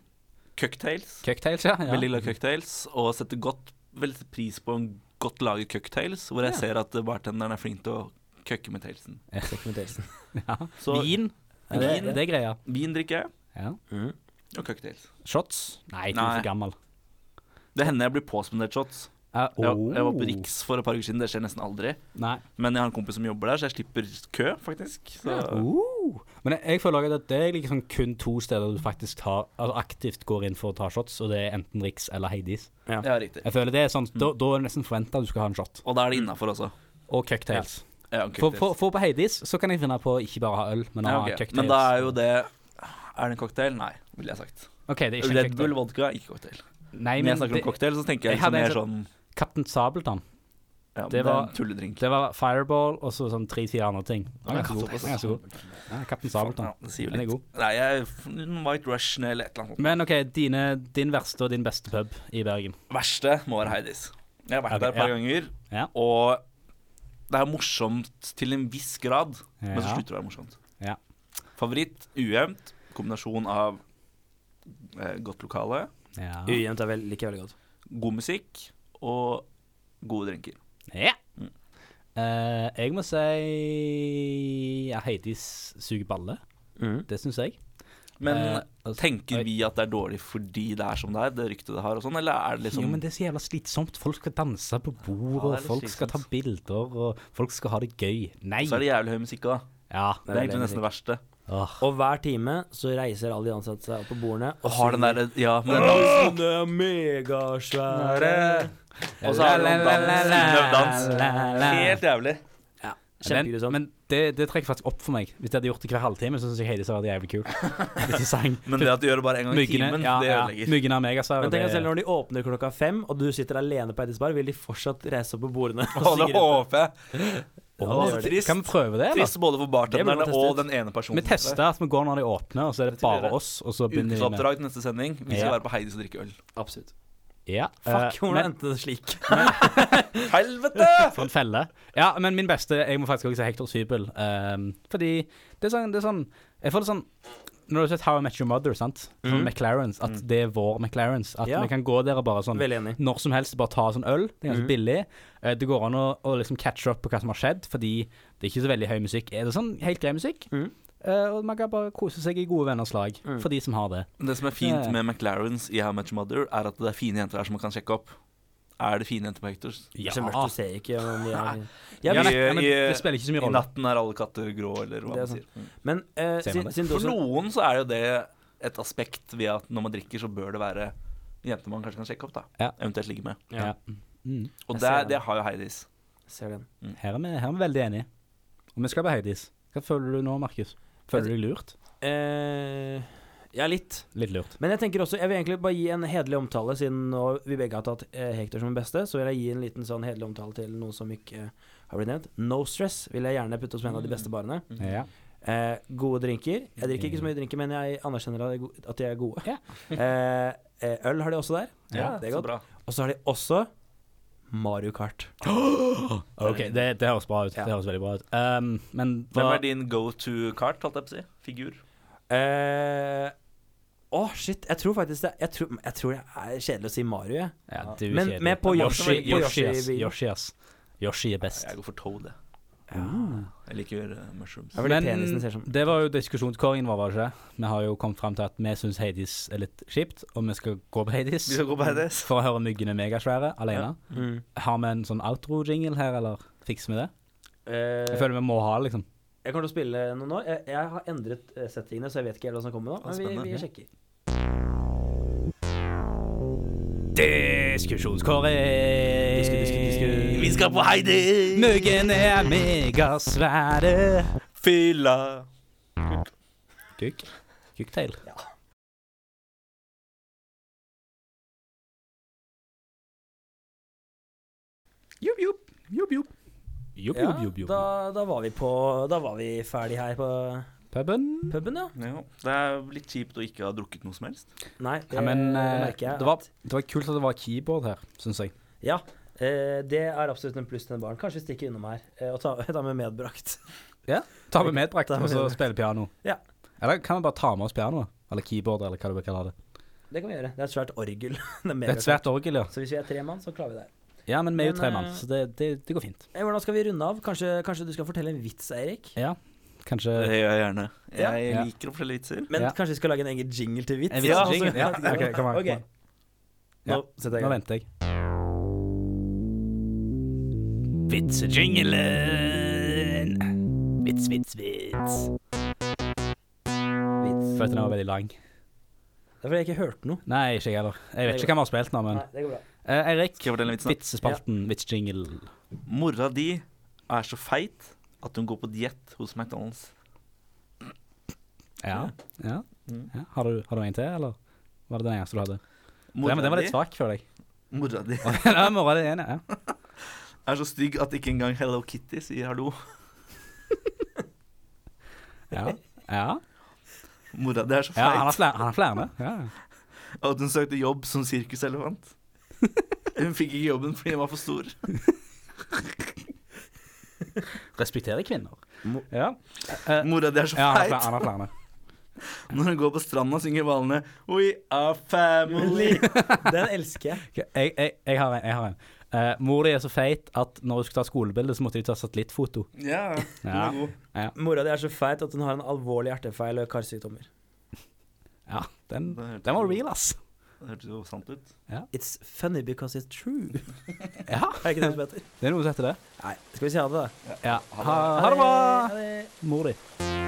Speaker 3: cocktails.
Speaker 1: Cocktails, ja. ja.
Speaker 3: Veldig glad i cocktails. Og setter godt veldig pris på en godt laget cocktails, hvor jeg
Speaker 2: Ja.
Speaker 3: ser at bartenderen er flink til å køkke med tailsen.
Speaker 2: Dokumentaisen.
Speaker 1: Ja.
Speaker 3: Så vin,
Speaker 1: Vin,
Speaker 2: Ja,
Speaker 1: det,
Speaker 2: det-
Speaker 1: det er greia.
Speaker 3: drikker jeg,
Speaker 1: Ja.
Speaker 3: og cocktails.
Speaker 1: Shots? Nei, du er
Speaker 3: Nei.
Speaker 1: for gammel.
Speaker 3: Det hender jeg blir påspandert shots.
Speaker 1: Eh,
Speaker 3: Jeg, jeg
Speaker 1: oh.
Speaker 3: var på Riks for et par uker siden, det skjer nesten aldri.
Speaker 1: Nei.
Speaker 3: Men jeg har en kompis som jobber der, så jeg slipper kø, faktisk. Så
Speaker 1: Oh. Men jeg, jeg føler også at det er liksom kun to steder du faktisk tar, altså aktivt går inn for å ta shots, og det er enten Riks eller Heidis.
Speaker 3: ja, riktig.
Speaker 1: Jeg føler det er sånn, da, da er det nesten forventa du skal ha en shot.
Speaker 3: Og da er det innafor også.
Speaker 1: Og cocktails.
Speaker 3: Ja, og
Speaker 1: For,
Speaker 3: cocktails.
Speaker 1: for, for på Heidis så kan jeg finne på å ikke bare ha øl, men å
Speaker 3: Ja,
Speaker 1: ha
Speaker 3: ok.
Speaker 1: cocktails.
Speaker 3: Men da er jo det Er det en cocktail? Nei, ville jeg sagt.
Speaker 1: OK, det er ikke en
Speaker 3: Red Bull
Speaker 1: cocktail.
Speaker 3: vodka er ikke cocktail.
Speaker 1: Nei,
Speaker 3: Når jeg
Speaker 1: men
Speaker 3: snakker
Speaker 1: det,
Speaker 3: om cocktail, så tenker jeg,
Speaker 1: Jeg hadde
Speaker 3: liksom mer
Speaker 1: en
Speaker 3: sånn
Speaker 1: Kaptein Sabeltann,
Speaker 3: ja,
Speaker 1: det
Speaker 3: men Det
Speaker 1: var-
Speaker 3: var tulledrink.
Speaker 1: det var Fireball og så sånn tre-fire andre ting. Den
Speaker 3: Ja,
Speaker 1: er ganske god.
Speaker 3: såpass,
Speaker 1: Den er ganske god. Ja, Kaptein
Speaker 3: Ja,
Speaker 1: Sabeltann.
Speaker 3: det sier jo
Speaker 1: Den er
Speaker 3: litt.
Speaker 1: god.
Speaker 3: Nei, jeg er f- en White Russian eller et eller annet.
Speaker 1: Men OK, dine, din verste og din beste pub i Bergen.
Speaker 3: Verste må være Heidis. Jeg har vært
Speaker 1: Ok,
Speaker 3: der et par
Speaker 1: ja.
Speaker 3: ganger,
Speaker 1: Ja.
Speaker 3: og det er morsomt til en viss grad, men så
Speaker 1: Ja.
Speaker 3: slutter det å være morsomt.
Speaker 1: Ja.
Speaker 3: Favoritt ujevnt. Kombinasjon av eh, godt lokale,
Speaker 1: Ja.
Speaker 2: Ujevnt er vel, liker jeg veldig godt.
Speaker 3: god musikk og gode drinker.
Speaker 1: Ja.
Speaker 3: Mm.
Speaker 1: Eh, jeg må si ja, Heidis suger balle. Mm. Det syns jeg.
Speaker 3: Men
Speaker 1: Eh, altså,
Speaker 3: tenker
Speaker 1: oi.
Speaker 3: vi at det er dårlig fordi det er som det er, det ryktet det har og sånn, eller er det liksom
Speaker 1: Jo, men det er så jævla slitsomt. Folk skal danse på bordet,
Speaker 3: Ja, det er
Speaker 1: og folk
Speaker 3: litt
Speaker 1: skal ta
Speaker 3: slitsomt.
Speaker 1: bilder, og folk skal ha det gøy. Nei!
Speaker 3: Så er det jævlig høy musikk òg, da.
Speaker 1: Ja.
Speaker 3: Det er egentlig nesten det verste.
Speaker 1: Åh.
Speaker 2: Og hver time så reiser alle de ansatte seg opp på bordene
Speaker 3: Og har den
Speaker 2: synger
Speaker 3: derre Ja, men den
Speaker 2: «Åh, det er megasvære
Speaker 3: Og så har
Speaker 1: La,
Speaker 3: den
Speaker 1: la, la,
Speaker 3: dans,
Speaker 1: la,
Speaker 3: innøvd dans.
Speaker 1: la, la.
Speaker 3: Helt jævlig.
Speaker 1: Men,
Speaker 2: Kjempegrusomt.
Speaker 1: men det, det trekker faktisk opp for meg. Hvis jeg hadde gjort det hver halvtime, så syns jeg Heidis hadde vært jævlig kult. Hvis de sang
Speaker 3: Men det at du gjør det bare en gang i
Speaker 1: Myggene
Speaker 3: timen,
Speaker 1: ja,
Speaker 3: det
Speaker 1: ja,
Speaker 3: ødelegger.
Speaker 1: myggene av meg, altså.
Speaker 2: Men tenk
Speaker 1: det-
Speaker 2: deg selv når de åpner klokka fem, og du sitter alene på Eddis bar, vil de fortsatt reise opp på bordene og
Speaker 3: Og det
Speaker 2: synge rundt.
Speaker 3: håper jeg.
Speaker 1: Åh,
Speaker 3: Å, det er trist.
Speaker 1: Kan vi prøve det, eller?
Speaker 3: Trist både for
Speaker 2: Det blir
Speaker 3: bartenderne
Speaker 2: testet
Speaker 3: og
Speaker 2: ut.
Speaker 3: den ene personen.
Speaker 1: Vi tester at vi går når de åpner, og så er det
Speaker 3: Det tror jeg
Speaker 1: bare
Speaker 3: det.
Speaker 1: oss. Og så begynner vi med
Speaker 3: Ukesoppdrag til neste sending. Vi skal
Speaker 1: Ja.
Speaker 3: være på Heidis og drikke øl.
Speaker 2: Absolutt.
Speaker 1: ja,
Speaker 2: Fuck,
Speaker 1: eh,
Speaker 2: hvordan
Speaker 1: men,
Speaker 2: endte det slik?
Speaker 3: Helvete!
Speaker 1: For en felle. Ja, men min beste Jeg må faktisk også si Hector Sybel. ehm, fordi det er, sånn, det er sånn Jeg føler det sånn Når du har sett How I Met Your Mother, sant? Sånn
Speaker 2: Mhm.
Speaker 1: McLarens. At det er vår McLarens. At
Speaker 2: Ja.
Speaker 1: vi kan gå der og bare sånn
Speaker 2: Veldig enig.
Speaker 1: når som helst bare ta sånn øl. Det er ganske
Speaker 2: Mhm.
Speaker 1: billig. Eh, Det går an å, å liksom catche opp på hva som har skjedd, fordi det er ikke så veldig høy musikk. Er det sånn helt grei musikk?
Speaker 2: Mhm.
Speaker 1: Eh, og man kan bare kose seg i gode venners lag,
Speaker 2: Mm.
Speaker 1: for de som har det.
Speaker 3: Det som er fint
Speaker 1: Ja.
Speaker 3: med McLarens i How Much Mother, er at det er fine jenter her som man kan sjekke opp. Er det fine jenter på Hectors?
Speaker 2: Så mørkt du ser ikke om de er
Speaker 3: Ja,
Speaker 1: Ja,
Speaker 2: Jeg
Speaker 1: nei,
Speaker 2: vil-
Speaker 3: i-
Speaker 1: nei, men
Speaker 3: i-
Speaker 1: det spiller ikke så mye
Speaker 3: I
Speaker 1: rolle.
Speaker 3: natten er alle katter grå, eller hva
Speaker 2: Det er
Speaker 3: man sier. Mm.
Speaker 2: Men eh,
Speaker 1: Ser man
Speaker 2: siden,
Speaker 1: det?
Speaker 2: siden du
Speaker 3: For
Speaker 2: også
Speaker 3: noen så er jo det et aspekt ved at når man drikker, så bør det være jenter man kanskje kan sjekke opp, da.
Speaker 1: Ja.
Speaker 3: Eventuelt ligge med.
Speaker 1: Ja. Mm.
Speaker 3: Og
Speaker 2: Jeg ser den.
Speaker 3: det, det har jo Heidis.
Speaker 2: Ser den.
Speaker 1: Her, er vi, her er vi veldig enige. Og vi skal på Heidis. Hva føler du nå, Markus? Føler du deg lurt?
Speaker 2: Eh, ja, litt.
Speaker 1: Litt lurt.
Speaker 2: Men jeg tenker også, jeg vil egentlig bare gi en hederlig omtale, siden nå vi begge har tatt eh, Hector som den beste. Så vil jeg gi en liten sånn hederlig omtale til noen som ikke eh, har blitt nevnt. No Stress vil jeg gjerne putte som en av de beste barene.
Speaker 1: Ja.
Speaker 2: Eh, gode drinker. Jeg drikker ikke så mye drinker, men jeg anerkjenner at de er go- at de er gode.
Speaker 1: Ja.
Speaker 2: eh, eh, øl har de også der.
Speaker 1: Ja,
Speaker 2: det er godt.
Speaker 3: Så bra.
Speaker 2: Og så har de også Mario Kart.
Speaker 1: Ok, det, det høres bra ut.
Speaker 2: Ja.
Speaker 1: Det høres veldig bra ut. Um, men
Speaker 3: Hvem
Speaker 1: hva
Speaker 3: er din go to kart, holdt jeg på å si? Figur?
Speaker 2: Eh, Å, shit. Jeg tror faktisk det Jeg tror, jeg tror det er kjedelig å si Mario, jeg.
Speaker 1: ja, du er
Speaker 2: Men-
Speaker 1: kjedelig.
Speaker 2: men på
Speaker 1: Yoshi,
Speaker 2: Yoshi- på
Speaker 1: Yoshi, ass.
Speaker 2: Yoshi-
Speaker 1: Yoshi, ass. Yoshi er best.
Speaker 3: Jeg går for Toad, jeg. Jeg liker eh, mushrooms.
Speaker 2: Ja, fordi penisen ser som-
Speaker 1: det var jo diskusjonskåringen vår, var det ikke? Vi har jo kommet fram til at vi syns Hades er litt kjipt, og vi skal gå på Hades.
Speaker 3: Vi skal gå på Heidis.
Speaker 1: For å høre myggene megasvære alene.
Speaker 2: Mm.
Speaker 1: Har vi en sånn outro-jingle her, eller fikser vi det?
Speaker 2: Eh,
Speaker 1: Jeg føler vi må ha det, liksom.
Speaker 2: Jeg kommer til å spille noe nå. Jeg, jeg har endret eh, settingene, så jeg vet ikke helt hva som kommer nå.
Speaker 3: Ah,
Speaker 2: Men vi, vi
Speaker 3: spennende.
Speaker 2: sjekker.
Speaker 1: Diskusjonskåring.
Speaker 2: Disku, disku, disku.
Speaker 3: Vi skal på Heidis!
Speaker 1: Myggene er megasvære.
Speaker 3: Fylla!
Speaker 1: Kukk. Kukktail. Jupp, jupp. Jupp, jupp. Jupp,
Speaker 2: Ja,
Speaker 1: jupp, jupp, jupp.
Speaker 2: da, da var vi på Da var vi ferdig her på
Speaker 1: Puben.
Speaker 2: puben, ja.
Speaker 3: Ja, det er litt kjipt å ikke ha drukket noe som helst.
Speaker 2: Nei, det
Speaker 1: Ja, men eh,
Speaker 2: merker jeg.
Speaker 1: det, var, det var kult at det var keyboard her, syns jeg.
Speaker 2: Ja, eh, det er absolutt en pluss til den baren. Kanskje vi stikker innom her eh, og tar, tar med medbrakt.
Speaker 1: Ta med medbrakt
Speaker 2: Ta med
Speaker 1: og så
Speaker 2: medbrakt.
Speaker 1: spille piano.
Speaker 2: Ja.
Speaker 1: Eller kan vi bare ta med oss pianoet? Eller keyboard, eller hva du vil kalle det.
Speaker 2: Det kan vi gjøre. Det er et svært orgel.
Speaker 1: Det er
Speaker 2: Det er
Speaker 1: et
Speaker 2: medbrakt.
Speaker 1: svært orgel, ja.
Speaker 2: Så hvis vi er tre mann, så klarer vi det.
Speaker 1: Ja, men vi er jo
Speaker 2: Men,
Speaker 1: tre mann,
Speaker 2: eh,
Speaker 1: så det, det, det går fint.
Speaker 2: Eh, Hvordan skal vi runde av? Kanskje, kanskje du skal fortelle en vits, Eirik?
Speaker 1: Ja, kanskje
Speaker 3: Det gjør jeg gjerne.
Speaker 2: Ja.
Speaker 3: Jeg
Speaker 1: Ja.
Speaker 3: liker å fortelle vitser.
Speaker 2: Men
Speaker 1: Ja.
Speaker 2: kanskje vi skal lage en egen jingle til vits?
Speaker 1: En
Speaker 3: Ja,
Speaker 1: vitsjingle?
Speaker 2: altså-
Speaker 1: Ja, ok, kom her.
Speaker 2: Ok. Nå
Speaker 1: Ja.
Speaker 2: setter jeg i
Speaker 1: Nå
Speaker 2: gang.
Speaker 1: venter jeg. Vitsejingelen. Vits, vits, vits.
Speaker 2: Vits.
Speaker 1: Følte den var veldig lang.
Speaker 2: Det er fordi jeg ikke hørte noe.
Speaker 1: Nei, ikke jeg heller. Jeg vet ikke hva vi har spilt nå, men
Speaker 2: Nei, det går bra.
Speaker 1: Eh, Eirik,
Speaker 3: Skal jeg fortelle en vits nå?
Speaker 1: vitsespalten, vitsjingle.
Speaker 3: Mora di er så feit at hun går på diett hos McDonald's.
Speaker 1: Ja. ja.
Speaker 3: Mm.
Speaker 1: ja. Har, du, har du en til, eller var det den eneste du hadde?
Speaker 3: Mora
Speaker 1: ja, men Den var litt
Speaker 3: di-
Speaker 1: svak, føler jeg.
Speaker 3: Mora di
Speaker 1: ja, mora det ene, ja.
Speaker 3: er så stygg at ikke engang Hello Kitty sier hallo.
Speaker 1: Ja. ja.
Speaker 3: Mora di er så
Speaker 1: ja han
Speaker 3: feit
Speaker 1: har flere, han har flere med. Ja.
Speaker 3: at hun søkte jobb som sirkuselefant. Hun fikk ikke jobben fordi hun var for stor.
Speaker 1: Respekterer kvinner.
Speaker 2: Mo-
Speaker 1: Ja. Eh,
Speaker 3: Mora di er så
Speaker 1: ja, han har flere-
Speaker 3: feit
Speaker 1: han har flere med.
Speaker 3: når hun går på stranda og synger hvalene We are family.
Speaker 2: Den elsker jeg.
Speaker 1: Ok, Jeg, jeg, jeg har en. Jeg har en. Eh, mor di er så feit at når hun skulle ta skolebilde, så måtte de ta satellittfoto.
Speaker 3: Ja, den
Speaker 1: Ja.
Speaker 3: er god.
Speaker 2: Mora di er så feit at hun har en alvorlig hjertefeil og karsykdommer.
Speaker 1: Ja, den,
Speaker 3: Det hørtes
Speaker 1: den var
Speaker 3: jo-
Speaker 1: real, ass.
Speaker 3: Det hørtes jo sant ut.
Speaker 2: It's funny because it's true.
Speaker 1: Ja,
Speaker 2: Er ikke det som heter?
Speaker 1: det er noe som heter det.
Speaker 2: Nei, skal vi si ha det, da?
Speaker 1: Ja. Ha, ha det bra, mor di.